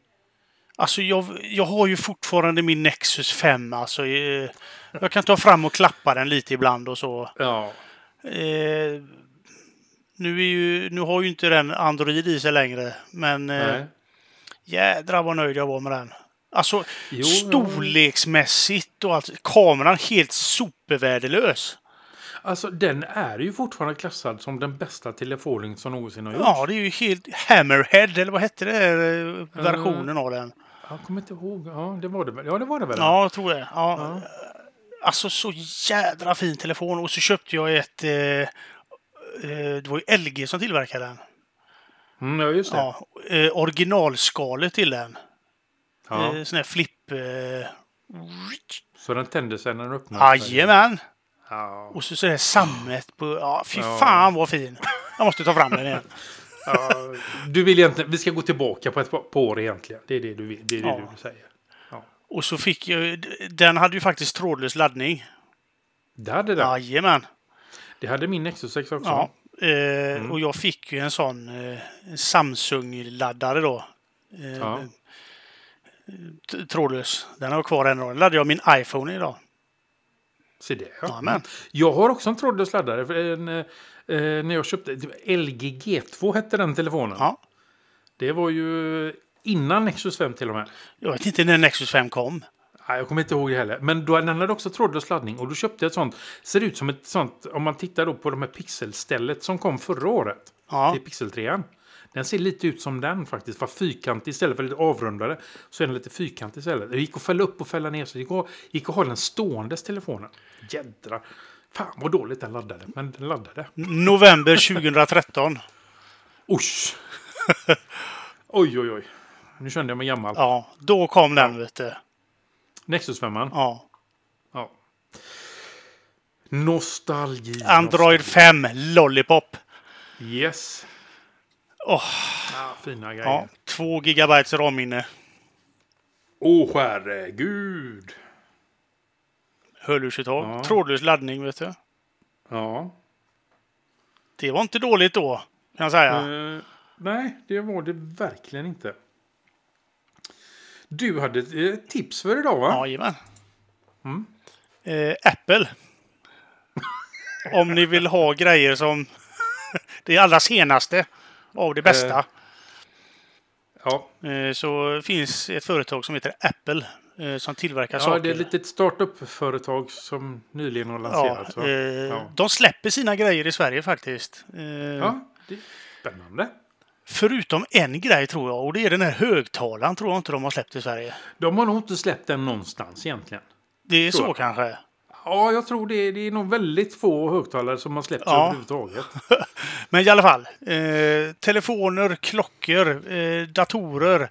[SPEAKER 1] Alltså jag, jag har ju fortfarande min Nexus 5. Alltså, eh, jag kan ta fram och klappa den lite ibland och så.
[SPEAKER 2] Ja.
[SPEAKER 1] Eh, nu, är ju, nu har ju inte den Android i sig längre, men eh,
[SPEAKER 2] Nej.
[SPEAKER 1] jädrar vad nöjd jag var med den. Alltså
[SPEAKER 2] Jo,
[SPEAKER 1] storleksmässigt och allt. Kameran helt supervärdelös.
[SPEAKER 2] Alltså den är ju fortfarande klassad som den bästa telefonen som någonsin har gjorts.
[SPEAKER 1] Ja, det är ju helt Hammerhead, eller vad hette det? eh,
[SPEAKER 2] Mm.
[SPEAKER 1] Versionen av den.
[SPEAKER 2] Jag kommer inte ihåg. Ja, det var det väl. Ja, det var det väl.
[SPEAKER 1] Ja, jag tror det. Ja. Alltså så jädra fin telefon. Och så köpte jag ett... Eh, eh, det var ju LG som tillverkade den.
[SPEAKER 2] Mm, ja, just det. Ja.
[SPEAKER 1] Ja, eh, originalskalet till den. Eh, sån här flipp... Eh,
[SPEAKER 2] Så den tände sig när den öppnade sig.
[SPEAKER 1] Jajamän!
[SPEAKER 2] Ja.
[SPEAKER 1] Och så så här sammet på... Ja, fy
[SPEAKER 2] Ja.
[SPEAKER 1] fan vad fin! Jag måste ta fram den igen.
[SPEAKER 2] Ja, du vill egentligen, vi ska gå tillbaka på ett par på år egentligen. Det är det du, vill, det är det
[SPEAKER 1] Ja.
[SPEAKER 2] du säger.
[SPEAKER 1] Och så fick jag... Den hade ju faktiskt trådlös laddning.
[SPEAKER 2] Det hade den.
[SPEAKER 1] Jajamän!
[SPEAKER 2] Det hade min Nexus 6 också.
[SPEAKER 1] Ja. Eh,
[SPEAKER 2] Mm.
[SPEAKER 1] Och jag fick ju en sån eh, Samsung-laddare då. Eh,
[SPEAKER 2] Ja.
[SPEAKER 1] t- Trådlös. Den har jag kvar än idag. Den laddade jag min iPhone idag.
[SPEAKER 2] Se det. Ja.
[SPEAKER 1] Jajamän.
[SPEAKER 2] Jag har också en trådlös laddare. För en, eh, eh, när jag köpte det var LG G2 hette den telefonen.
[SPEAKER 1] Ja.
[SPEAKER 2] Det var ju innan Nexus 5 till och med.
[SPEAKER 1] Jag vet inte när Nexus 5 kom.
[SPEAKER 2] Nej, jag kommer inte ihåg det heller. Men då, den hade också trådlös laddning. Och då köpte jag ett sånt. Ser ut som ett sånt. Om man tittar då på de här pixelstället som kom förra året.
[SPEAKER 1] Ja.
[SPEAKER 2] Det är Pixel 3. Den ser lite ut som den faktiskt, fast fyrkantig istället för lite avrundade. Så är den lite fyrkantig istället. Det gick att fälla upp och fälla ner, så det gick att, gick att ha den ståendes telefonen. Jädra. Fan vad dåligt den laddade, men den laddade.
[SPEAKER 1] November 2013.
[SPEAKER 2] Usch! oj, oj, oj. Nu kände jag mig gammal.
[SPEAKER 1] Ja, då kom den vet du.
[SPEAKER 2] Nexus 5. Ja.
[SPEAKER 1] Ja.
[SPEAKER 2] Nostalgi.
[SPEAKER 1] Android 5 Lollipop.
[SPEAKER 2] nostalgi. Yes.
[SPEAKER 1] Åh.
[SPEAKER 2] Ah, fina grejer.
[SPEAKER 1] Ja, 2 gigabytes RAM-minne.
[SPEAKER 2] Åh, herregud.
[SPEAKER 1] Hörlursuttag.
[SPEAKER 2] Ja.
[SPEAKER 1] Trådlös laddning vet du.
[SPEAKER 2] Ja.
[SPEAKER 1] Det var inte dåligt då, kan jag säga.
[SPEAKER 2] Eh, nej, det var det verkligen inte. Du hade ett eh, tips för idag va?
[SPEAKER 1] Jajamän. Eh, Apple. Om ni vill ha grejer som det allra senaste av det bästa
[SPEAKER 2] Ja,
[SPEAKER 1] eh, så finns ett företag som heter Apple eh, som tillverkar
[SPEAKER 2] ja
[SPEAKER 1] saker.
[SPEAKER 2] det är ett litet startup-företag som nyligen har
[SPEAKER 1] ja,
[SPEAKER 2] lanserats.
[SPEAKER 1] eh,
[SPEAKER 2] va? Ja.
[SPEAKER 1] De släpper sina grejer i Sverige faktiskt. Eh,
[SPEAKER 2] ja, det är spännande.
[SPEAKER 1] Förutom en grej tror jag och det är den här högtalaren tror jag inte de har släppt i Sverige.
[SPEAKER 2] De har nog inte släppt den någonstans egentligen.
[SPEAKER 1] Det är
[SPEAKER 2] Tror
[SPEAKER 1] så
[SPEAKER 2] jag.
[SPEAKER 1] kanske.
[SPEAKER 2] Ja, jag tror det. Det är nog väldigt få högtalare som har släppts
[SPEAKER 1] Ja.
[SPEAKER 2] överhuvudtaget.
[SPEAKER 1] Men i alla fall. Eh, telefoner, klockor, eh, datorer,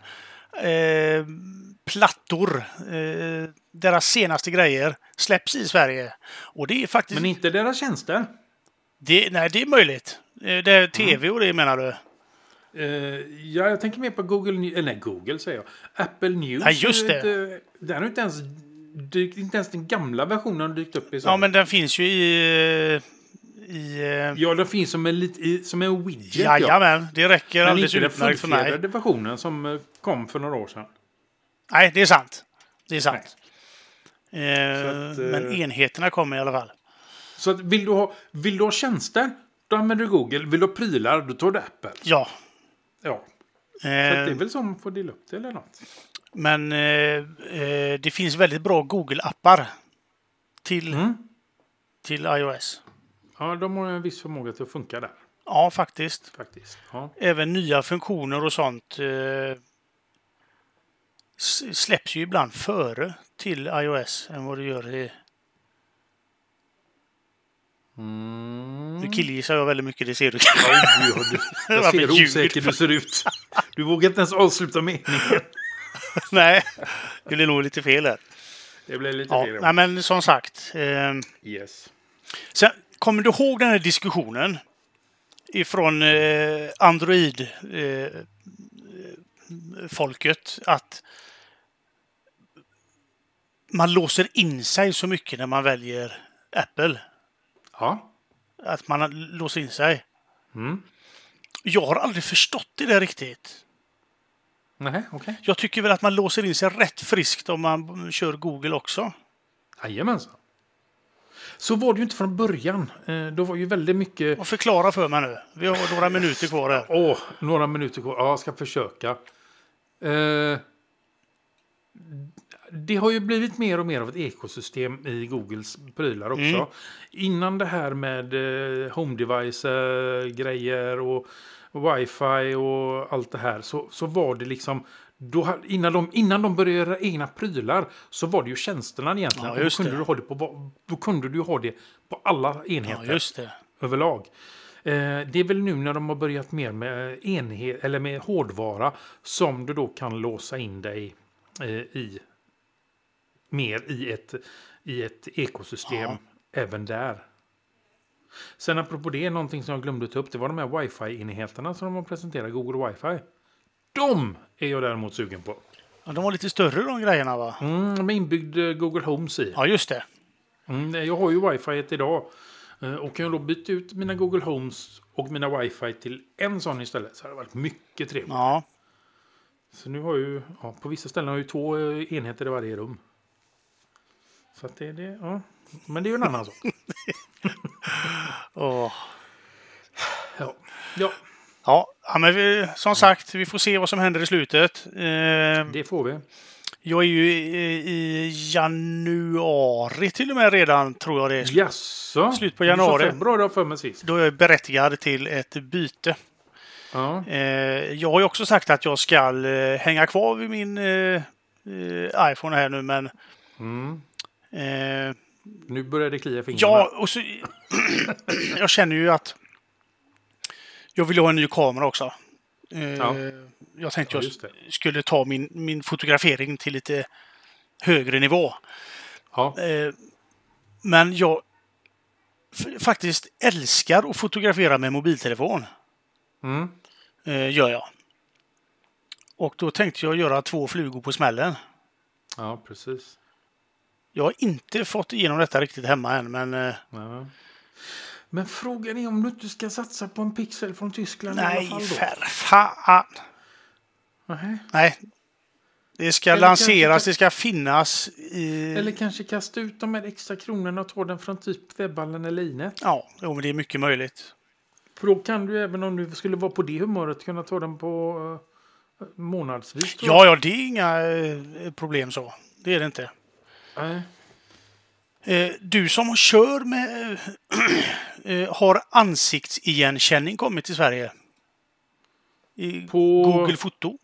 [SPEAKER 1] eh, plattor. Eh, deras senaste grejer släpps i Sverige. Och det är faktiskt...
[SPEAKER 2] Men inte deras tjänster.
[SPEAKER 1] det, nej, det är möjligt. Eh, det
[SPEAKER 2] Mm.
[SPEAKER 1] är tv och det menar du?
[SPEAKER 2] Eh, ja, jag tänker mer på Google News. Nej, Google säger jag. Apple News.
[SPEAKER 1] Ja, just
[SPEAKER 2] är ju Inte, den har ju inte ens dykt, inte ens den gamla versionen har dykt upp i Sverige.
[SPEAKER 1] Ja, men den finns ju i... eh, i eh,
[SPEAKER 2] Ja, den finns som en, lit, i- som en widget. ja.
[SPEAKER 1] jajamän, det räcker
[SPEAKER 2] Men
[SPEAKER 1] alldeles
[SPEAKER 2] inte den
[SPEAKER 1] utmärkt för mig.
[SPEAKER 2] fullfjädrade versionen som eh, kom för några år sedan.
[SPEAKER 1] Nej, det är sant. Det är sant.
[SPEAKER 2] Så
[SPEAKER 1] Eh,
[SPEAKER 2] att, eh,
[SPEAKER 1] Men enheterna kommer i alla fall.
[SPEAKER 2] Så att, vill, du ha, vill du ha tjänster, då använder du Google. Vill du ha prylar, då tar du Apple.
[SPEAKER 1] Ja.
[SPEAKER 2] Ja, så att det är
[SPEAKER 1] Eh,
[SPEAKER 2] väl så man får dela upp det eller något.
[SPEAKER 1] Men eh, eh, det finns väldigt bra Google-appar till,
[SPEAKER 2] Mm.
[SPEAKER 1] till iOS.
[SPEAKER 2] Ja, de har ju en viss förmåga till att funka där
[SPEAKER 1] Ja, faktiskt.
[SPEAKER 2] faktiskt. Ja.
[SPEAKER 1] Även nya funktioner och sånt eh, s- släpps ju ibland före till iOS än vad det gör i... Nu killgissar jag väldigt mycket, det ser du kanske.
[SPEAKER 2] Oj, ja, du, jag
[SPEAKER 1] Varför
[SPEAKER 2] ser hur
[SPEAKER 1] ljud?
[SPEAKER 2] osäker du ser ut. Du vågar inte ens avsluta meningen.
[SPEAKER 1] Nej, det blir nog lite fel där.
[SPEAKER 2] Det blev lite
[SPEAKER 1] Ja,
[SPEAKER 2] fel.
[SPEAKER 1] nej, men som sagt. Eh,
[SPEAKER 2] Yes.
[SPEAKER 1] Sen, kommer du ihåg den här diskussionen ifrån eh, Android-företagen folket att man låser in sig så mycket när man väljer Apple.
[SPEAKER 2] Ja.
[SPEAKER 1] Att man låser in sig.
[SPEAKER 2] Mm.
[SPEAKER 1] Jag har aldrig förstått det där riktigt.
[SPEAKER 2] Nej, okej.
[SPEAKER 1] Jag tycker väl att man låser in sig rätt friskt om man kör Google också.
[SPEAKER 2] Jajamensan. Så var det ju inte från början. Eh, Då var ju väldigt mycket...
[SPEAKER 1] Och förklara för mig nu. Vi har några minuter kvar här.
[SPEAKER 2] Åh, några minuter kvar. Ja, jag ska försöka. Eh, det har ju blivit mer och mer av ett ekosystem i Googles prylar också.
[SPEAKER 1] Mm.
[SPEAKER 2] Innan det här med eh, home device-grejer och wifi och allt det här så, så var det liksom... Då, ha- innan, de, innan de började göra egna prylar så var det ju tjänsterna egentligen.
[SPEAKER 1] Ja,
[SPEAKER 2] Och då,
[SPEAKER 1] just
[SPEAKER 2] kunde
[SPEAKER 1] det.
[SPEAKER 2] du ha det på, va- då kunde du ju ha det på alla
[SPEAKER 1] Ja,
[SPEAKER 2] enheter
[SPEAKER 1] just det.
[SPEAKER 2] överlag. Eh, det är väl nu när de har börjat mer med, enhet, eller med hårdvara som du då kan låsa in dig eh, i mer i ett, i ett ekosystem
[SPEAKER 1] Ja.
[SPEAKER 2] även där. Sen apropå det, någonting som jag glömde ta upp, det var de här wifi-enheterna som de har presenterat, Google wifi. De är jag däremot sugen på.
[SPEAKER 1] Ja, de var lite större de grejerna va?
[SPEAKER 2] Mm, med inbyggd eh, Google Homes i.
[SPEAKER 1] Ja, just det.
[SPEAKER 2] Mm, nej, jag har ju wifi idag. eh, Och kan jag då byta ut mina Google Homes och mina wifi till en sån istället så har det varit mycket trevligt.
[SPEAKER 1] Ja.
[SPEAKER 2] Så nu har jag ju, ja, på vissa ställen har jag ju två eh, enheter i varje rum. Så att det är det, ja. Men det är ju en annan sak.
[SPEAKER 1] Åh.
[SPEAKER 2] Ja. ja,
[SPEAKER 1] Ja, ja, men vi, som sagt, vi får se vad som händer i slutet. Eh,
[SPEAKER 2] det får vi.
[SPEAKER 1] jag är ju i, i januari till och med redan, tror jag det
[SPEAKER 2] Mm.
[SPEAKER 1] är.
[SPEAKER 2] Jaså?
[SPEAKER 1] Slut på
[SPEAKER 2] Du sa
[SPEAKER 1] januari.
[SPEAKER 2] februari har jag för mig sist.
[SPEAKER 1] Då är jag berättigad till ett byte.
[SPEAKER 2] Ja.
[SPEAKER 1] Eh, jag har ju också sagt att jag ska eh, hänga kvar vid min eh, eh, iPhone här nu, men...
[SPEAKER 2] Mm.
[SPEAKER 1] Eh,
[SPEAKER 2] Nu börjar det klia i fingrarna.
[SPEAKER 1] Ja, och så... jag känner ju att jag vill ha en ny kamera också. Eh,
[SPEAKER 2] Ja.
[SPEAKER 1] Jag tänkte
[SPEAKER 2] Ja,
[SPEAKER 1] jag
[SPEAKER 2] just det.
[SPEAKER 1] skulle ta min, min fotografering till lite högre nivå.
[SPEAKER 2] Ja.
[SPEAKER 1] Eh, Men jag f- faktiskt älskar att fotografera med mobiltelefon.
[SPEAKER 2] Mm.
[SPEAKER 1] Eh, Gör jag. Och då tänkte jag göra två flugor på smällen.
[SPEAKER 2] ja, precis.
[SPEAKER 1] Jag har inte fått igenom detta riktigt hemma än, men eh,
[SPEAKER 2] Ja. Men frågan är om du inte ska satsa på en pixel från Tyskland i alla
[SPEAKER 1] nej,
[SPEAKER 2] fall då?
[SPEAKER 1] för fan.
[SPEAKER 2] Nej.
[SPEAKER 1] Nej. Det ska
[SPEAKER 2] Eller
[SPEAKER 1] lanseras,
[SPEAKER 2] kanske-
[SPEAKER 1] det ska finnas i...
[SPEAKER 2] Eller kanske kasta ut de här extra kronorna och ta den från typ webballen eller linet.
[SPEAKER 1] Ja, jo, men det är mycket möjligt.
[SPEAKER 2] För då kan du även om du skulle vara på det humöret kunna ta den på eh, månadsvis. tror jag.
[SPEAKER 1] Ja, ja, det är inga eh, problem så. Det är det inte.
[SPEAKER 2] Nej.
[SPEAKER 1] Eh, Du som kör med... eh, har ansiktsigenkänning kommit till Sverige? I
[SPEAKER 2] På,
[SPEAKER 1] Google Foto?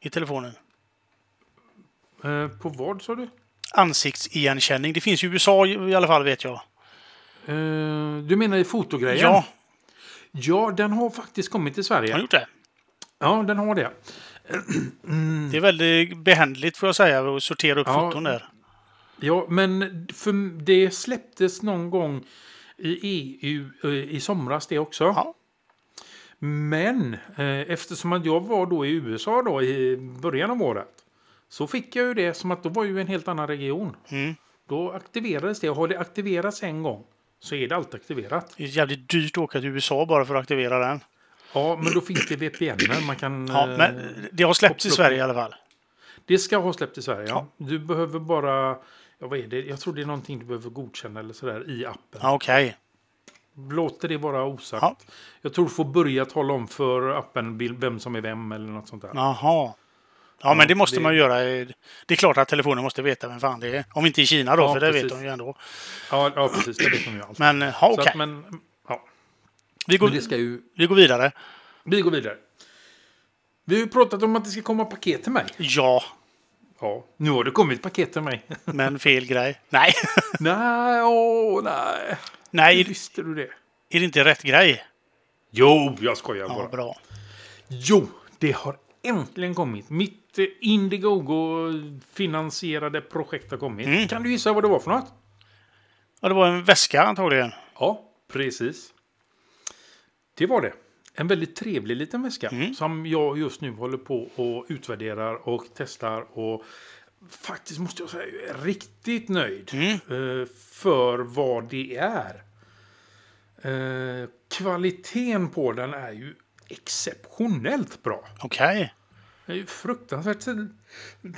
[SPEAKER 1] I telefonen.
[SPEAKER 2] eh, på vad sa du?
[SPEAKER 1] Ansiktsigenkänning. Det finns i USA i i alla fall, vet jag.
[SPEAKER 2] Eh, du menar i fotogrejen?
[SPEAKER 1] Ja,
[SPEAKER 2] Ja, den har faktiskt kommit till
[SPEAKER 1] har
[SPEAKER 2] Sverige.
[SPEAKER 1] gjort det.
[SPEAKER 2] Ja, den har det.
[SPEAKER 1] Det är väldigt behändigt, får jag säga, att sortera upp
[SPEAKER 2] Mm. Ja.
[SPEAKER 1] foton där.
[SPEAKER 2] Ja, men för det släpptes någon gång i EU eh, i somras det också.
[SPEAKER 1] Ja.
[SPEAKER 2] Men eh, eftersom att jag var då i USA då i början av året så fick jag ju det som att då var ju en helt annan region.
[SPEAKER 1] Mm.
[SPEAKER 2] Då aktiverades det och har det aktiverats en gång så är det alltid aktiverat.
[SPEAKER 1] Det är jävligt dyrt att åka till USA bara för att aktivera den.
[SPEAKER 2] Ja, men då finns det VPN man kan...
[SPEAKER 1] Ja,
[SPEAKER 2] eh,
[SPEAKER 1] men det har släppts i
[SPEAKER 2] koppla-
[SPEAKER 1] Sverige i alla fall.
[SPEAKER 2] Det ska ha släppt i Sverige. Ja. Du behöver bara... Ja, vad är det? Jag tror det är någonting du behöver godkänna eller sådär i appen.
[SPEAKER 1] Ja, Okej.
[SPEAKER 2] Låter det vara osagt.
[SPEAKER 1] Ja.
[SPEAKER 2] Jag tror du får börja tala om för appen vil- vem som är vem eller något sånt där.
[SPEAKER 1] Jaha. Ja, men det måste
[SPEAKER 2] det-
[SPEAKER 1] man göra. i- Det är klart att telefonen måste veta vem fan det är. Om inte i Kina då,
[SPEAKER 2] Ja,
[SPEAKER 1] för det vet
[SPEAKER 2] precis.
[SPEAKER 1] de ju ändå.
[SPEAKER 2] Ja, ja precis. Det vet de ju allt.
[SPEAKER 1] Men ja, okej.
[SPEAKER 2] Så att, men, ja.
[SPEAKER 1] Vi,
[SPEAKER 2] men
[SPEAKER 1] går,
[SPEAKER 2] det ska ju...
[SPEAKER 1] vi går vidare.
[SPEAKER 2] Vi går vidare. Vi har ju pratat om att det ska komma paket till mig.
[SPEAKER 1] Ja,
[SPEAKER 2] Ja. Nu har det kommit paket till mig.
[SPEAKER 1] men fel grej. Nej,
[SPEAKER 2] nej, åh nej. Hur
[SPEAKER 1] nej,
[SPEAKER 2] visste du det?
[SPEAKER 1] är det inte rätt grej?
[SPEAKER 2] Jo, jag skojar
[SPEAKER 1] Ja,
[SPEAKER 2] bara.
[SPEAKER 1] bra.
[SPEAKER 2] Jo, det har äntligen kommit. Mitt eh, Indiegogo-finansierade projekt har kommit.
[SPEAKER 1] Mm.
[SPEAKER 2] Kan du gissa vad det var för något?
[SPEAKER 1] Ja, det var en väska antagligen.
[SPEAKER 2] Ja, precis. Det var det. En väldigt trevlig liten väska som jag just nu håller på och utvärderar och testar. Och faktiskt måste jag säga, jag är riktigt nöjd eh, för vad det är. Eh, Kvaliteten på den är ju exceptionellt bra.
[SPEAKER 1] Okej.
[SPEAKER 2] Den är ju fruktansvärt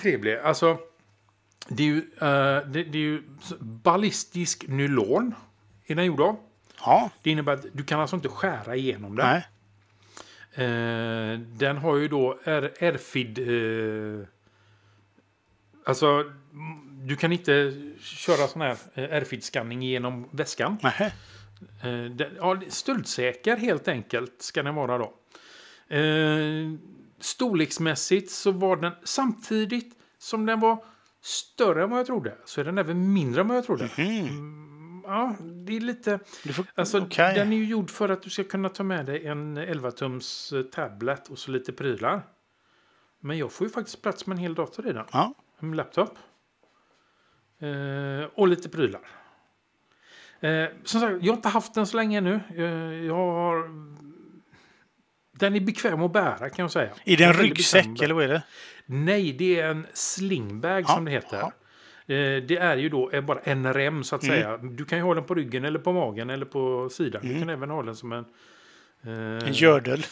[SPEAKER 2] trevlig. Alltså, det är ju, eh, det, det är ju ballistisk nylon är den gjord av.
[SPEAKER 1] Ja.
[SPEAKER 2] Det innebär att du kan alltså inte skära igenom den.
[SPEAKER 1] Nej.
[SPEAKER 2] Eh, den har ju då R- RFID... Eh, alltså, m- du kan inte köra sån här eh, RFID-scanning genom väskan.
[SPEAKER 1] Nej.
[SPEAKER 2] Eh, den, ja, stöldsäker helt enkelt ska den vara då. Eh, storleksmässigt så var den, samtidigt som den var större än vad jag trodde, så är den även mindre än vad jag trodde. Mm, ja, det är lite...
[SPEAKER 1] Du får...
[SPEAKER 2] Alltså,
[SPEAKER 1] Okej.
[SPEAKER 2] Den är ju gjord för att du ska kunna ta med dig en 11-tums eh, tablet och så lite prylar. Men jag får ju faktiskt plats med en hel dator i den.
[SPEAKER 1] Ja.
[SPEAKER 2] En laptop. Eh, och lite prylar. Eh, som sagt, jag har inte haft den så länge nu. Eh, jag har... Den är bekväm att bära kan jag säga.
[SPEAKER 1] Är det en
[SPEAKER 2] Den är väldigt
[SPEAKER 1] ryggsäck
[SPEAKER 2] bekväm.
[SPEAKER 1] eller vad är det?
[SPEAKER 2] Nej, det är en slingbag
[SPEAKER 1] Ja,
[SPEAKER 2] som det heter.
[SPEAKER 1] ja. Mm.
[SPEAKER 2] Eh, Det är ju då eh, bara en rem så att säga. Du kan ju ha den på ryggen eller på magen eller på sidan. Du kan även ha den som en... Eh,
[SPEAKER 1] Mm. En gördel?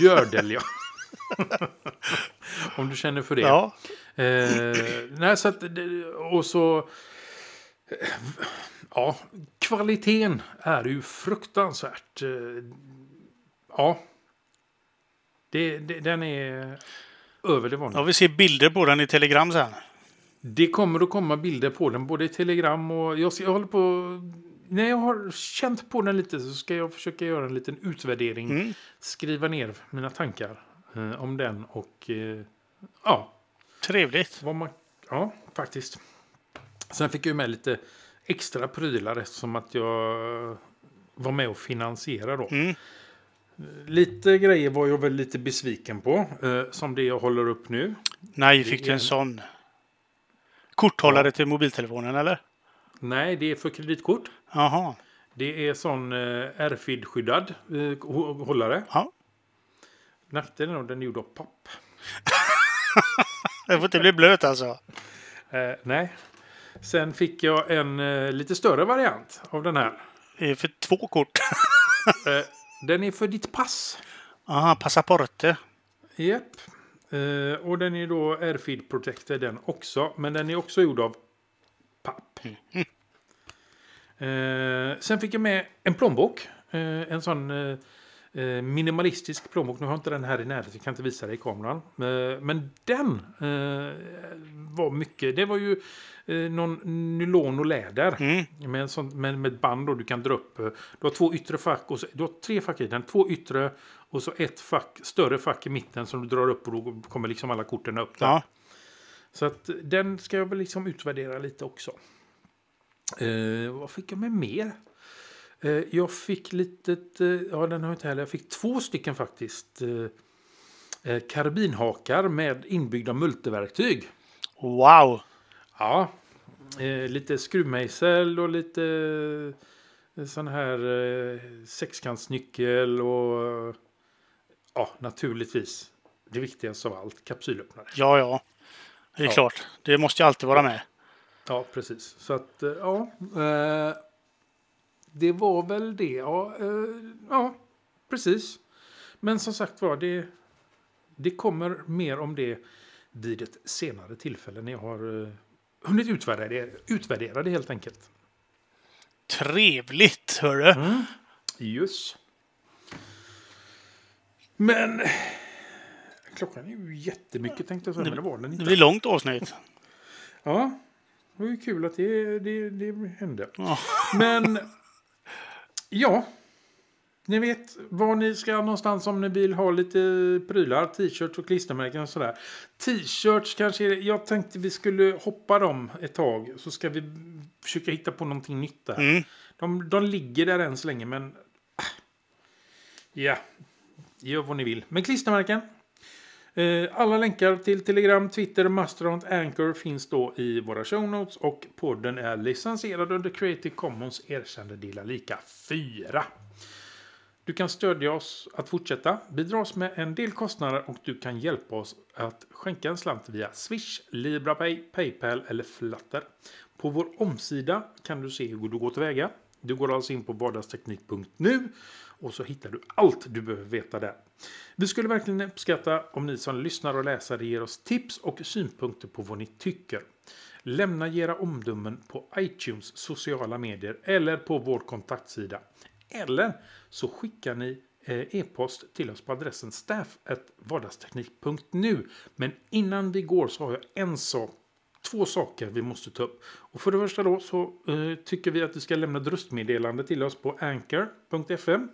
[SPEAKER 2] gördel, ja. Om du känner för det.
[SPEAKER 1] Ja.
[SPEAKER 2] Eh, nej, så att, det- och så... eh, Ja, kvaliteten är ju fruktansvärt. eh, Ja. Det, det, den är över det vanliga.
[SPEAKER 1] Ja, vi ser bilder på den i telegram sen.
[SPEAKER 2] Det kommer att komma bilder på den, både i telegram och... Jag, ska, jag håller på... När jag har känt på den lite så ska jag försöka göra en liten utvärdering. Skriva ner mina tankar eh, om den och... Eh, ja,
[SPEAKER 1] Trevligt.
[SPEAKER 2] vad man, ja, faktiskt. Sen fick jag ju med lite extra prylar eftersom att jag var med och finansierade då.
[SPEAKER 1] Mm.
[SPEAKER 2] Lite grejer var jag väl lite besviken på, eh, som det jag håller upp nu.
[SPEAKER 1] Nej, fick
[SPEAKER 2] Det
[SPEAKER 1] du
[SPEAKER 2] är
[SPEAKER 1] en
[SPEAKER 2] en-
[SPEAKER 1] sån? Korthållare till mobiltelefonen eller?
[SPEAKER 2] Nej, det är för kreditkort.
[SPEAKER 1] Jaha.
[SPEAKER 2] Det är sån eh, RFID-skyddad eh, hå- hållare.
[SPEAKER 1] Ja.
[SPEAKER 2] Nackdelen är att den är gjord av papp.
[SPEAKER 1] Den får inte bli blöt alltså.
[SPEAKER 2] Eh, nej. Sen fick jag en eh, lite större variant av den här.
[SPEAKER 1] Det är för två kort.
[SPEAKER 2] Eh, den är för ditt pass.
[SPEAKER 1] Aha, passaporte.
[SPEAKER 2] Japp. Eh, och den är då Airfeed Protector den också. Men den är också gjord av papp. Eh, sen fick jag med en plånbok. Eh, en sån eh, eh, minimalistisk plånbok. Nu har jag inte den här i närheten. Jag kan inte visa dig i kameran. Eh, men den eh, var mycket. Det var ju eh, någon nylon och läder. Med, en sån, med, med ett band och du kan dra upp. eh, Du har två yttre fack. Och så, du har tre fack i den. Två yttre och så ett fack, större fack i mitten som du drar upp och då kommer liksom alla korten upp. Där.
[SPEAKER 1] Ja.
[SPEAKER 2] Så att den ska jag väl liksom utvärdera lite också. Eh, vad fick jag med mer? Eh, jag fick litet, eh, ja den har jag inte heller, jag fick två stycken faktiskt. Eh, eh, karbinhakar med inbyggda multiverktyg.
[SPEAKER 1] Wow.
[SPEAKER 2] Ja, eh, lite skruvmejsel och lite eh, sån här eh, sexkantsnyckel och eh, ja, naturligtvis det viktigaste av allt, kapsylöppnare.
[SPEAKER 1] Ja, ja. Det är
[SPEAKER 2] Ja.
[SPEAKER 1] klart. Det måste ju alltid vara med.
[SPEAKER 2] Ja, precis. Så att, eh, ja. eh, Det var väl det. Ja, eh, ja precis. Men som sagt var, det, det kommer mer om det vid ett senare tillfälle när jag har eh, hunnit utvärdera det, utvärdera det helt enkelt.
[SPEAKER 1] Trevligt, hörru.
[SPEAKER 2] Mm. Just. Men klockan är ju jättemycket tänkte jag säga, men det var den
[SPEAKER 1] Det
[SPEAKER 2] inte.
[SPEAKER 1] blir långt avsnitt.
[SPEAKER 2] Ja, det var ju kul att det, det, det hände.
[SPEAKER 1] Ja.
[SPEAKER 2] Men ja, ni vet var ni ska någonstans om ni vill ha lite prylar, t-shirts och klistermärken och sådär. T-shirts kanske, är- jag tänkte vi skulle hoppa dem ett tag så ska vi försöka hitta på någonting nytt där.
[SPEAKER 1] Mm.
[SPEAKER 2] De, de ligger där än så länge men ah. ja, gör vad ni vill. Men klistermärken. Eh, Alla länkar till Telegram, Twitter, Mastodon, Anchor finns då i våra show notes och podden är licensierad under Creative Commons erkända delar lika 4. Du kan stödja oss att fortsätta, bidra oss med en del kostnader och du kan hjälpa oss att skänka en slant via Swish, LibraPay, Paypal eller Flutter. På vår omsida kan du se hur du går tillväga. Du går alltså in på vardagsteknik.nu och så hittar du allt du behöver veta där. Vi skulle verkligen uppskatta om ni som lyssnar och läsare ger oss tips och synpunkter på vad ni tycker. Lämna era omdömen på iTunes sociala medier eller på vår kontaktsida. Eller så skickar ni eh, e-post till oss på adressen staff@vardagsteknik.nu. Men innan vi går så har jag en sak, två saker vi måste ta upp. Och för det första då så eh, tycker vi att vi ska lämna ett röstmeddelande till oss på anchor.fm.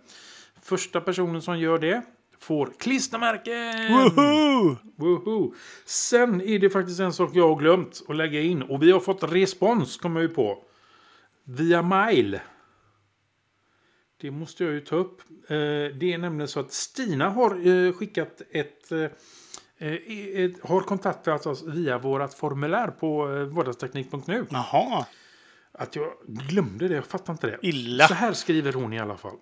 [SPEAKER 2] Första personen som gör det får klistermärken!
[SPEAKER 1] Woohoo!
[SPEAKER 2] Woho! Sen är det faktiskt en sak jag har glömt att lägga in. Och vi har fått respons, kommer jag ju på. Via mail. Det måste jag ju ta upp. Eh, Det är nämligen så att Stina har eh, skickat ett... eh, eh, ett- Har kontaktat oss via vårt formulär på eh, vardagsteknik.nu.
[SPEAKER 1] Jaha.
[SPEAKER 2] Att jag glömde det, jag fattar inte det.
[SPEAKER 1] Illa.
[SPEAKER 2] Så här skriver hon i alla fall.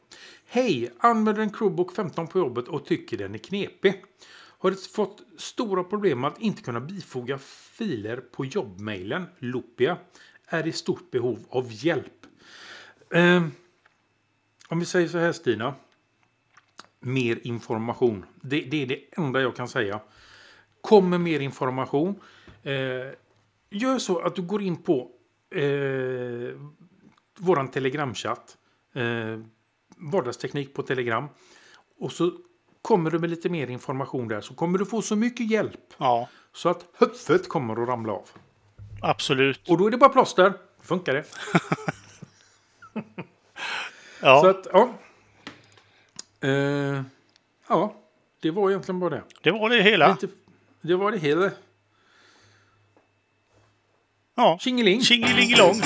[SPEAKER 2] Hej, använder en Chromebook 15 på jobbet och tycker den är knepig. Har fått stora problem att inte kunna bifoga filer på jobbmailen, Lopia. Är i stort behov av hjälp. Ehm, om vi säger så här Stina. Mer information. Det, det är det enda jag kan säga. Kommer mer information. Eh, Gör så att du går in på eh, vår telegramchatt. Eh, vardagsteknik på telegram. Och så kommer du med lite mer information där. Så kommer du få så mycket hjälp.
[SPEAKER 1] Ja,
[SPEAKER 2] Så att huvudet kommer att ramla av.
[SPEAKER 1] absolut.
[SPEAKER 2] Och då är det bara plåster. Funkar det? Så
[SPEAKER 1] Ja,
[SPEAKER 2] att, ja. Eh, ja, det var egentligen bara det.
[SPEAKER 1] det var det hela.
[SPEAKER 2] Inte, det var det hela.
[SPEAKER 1] Ja.
[SPEAKER 2] Tjingeling!
[SPEAKER 1] Tjingelingelong.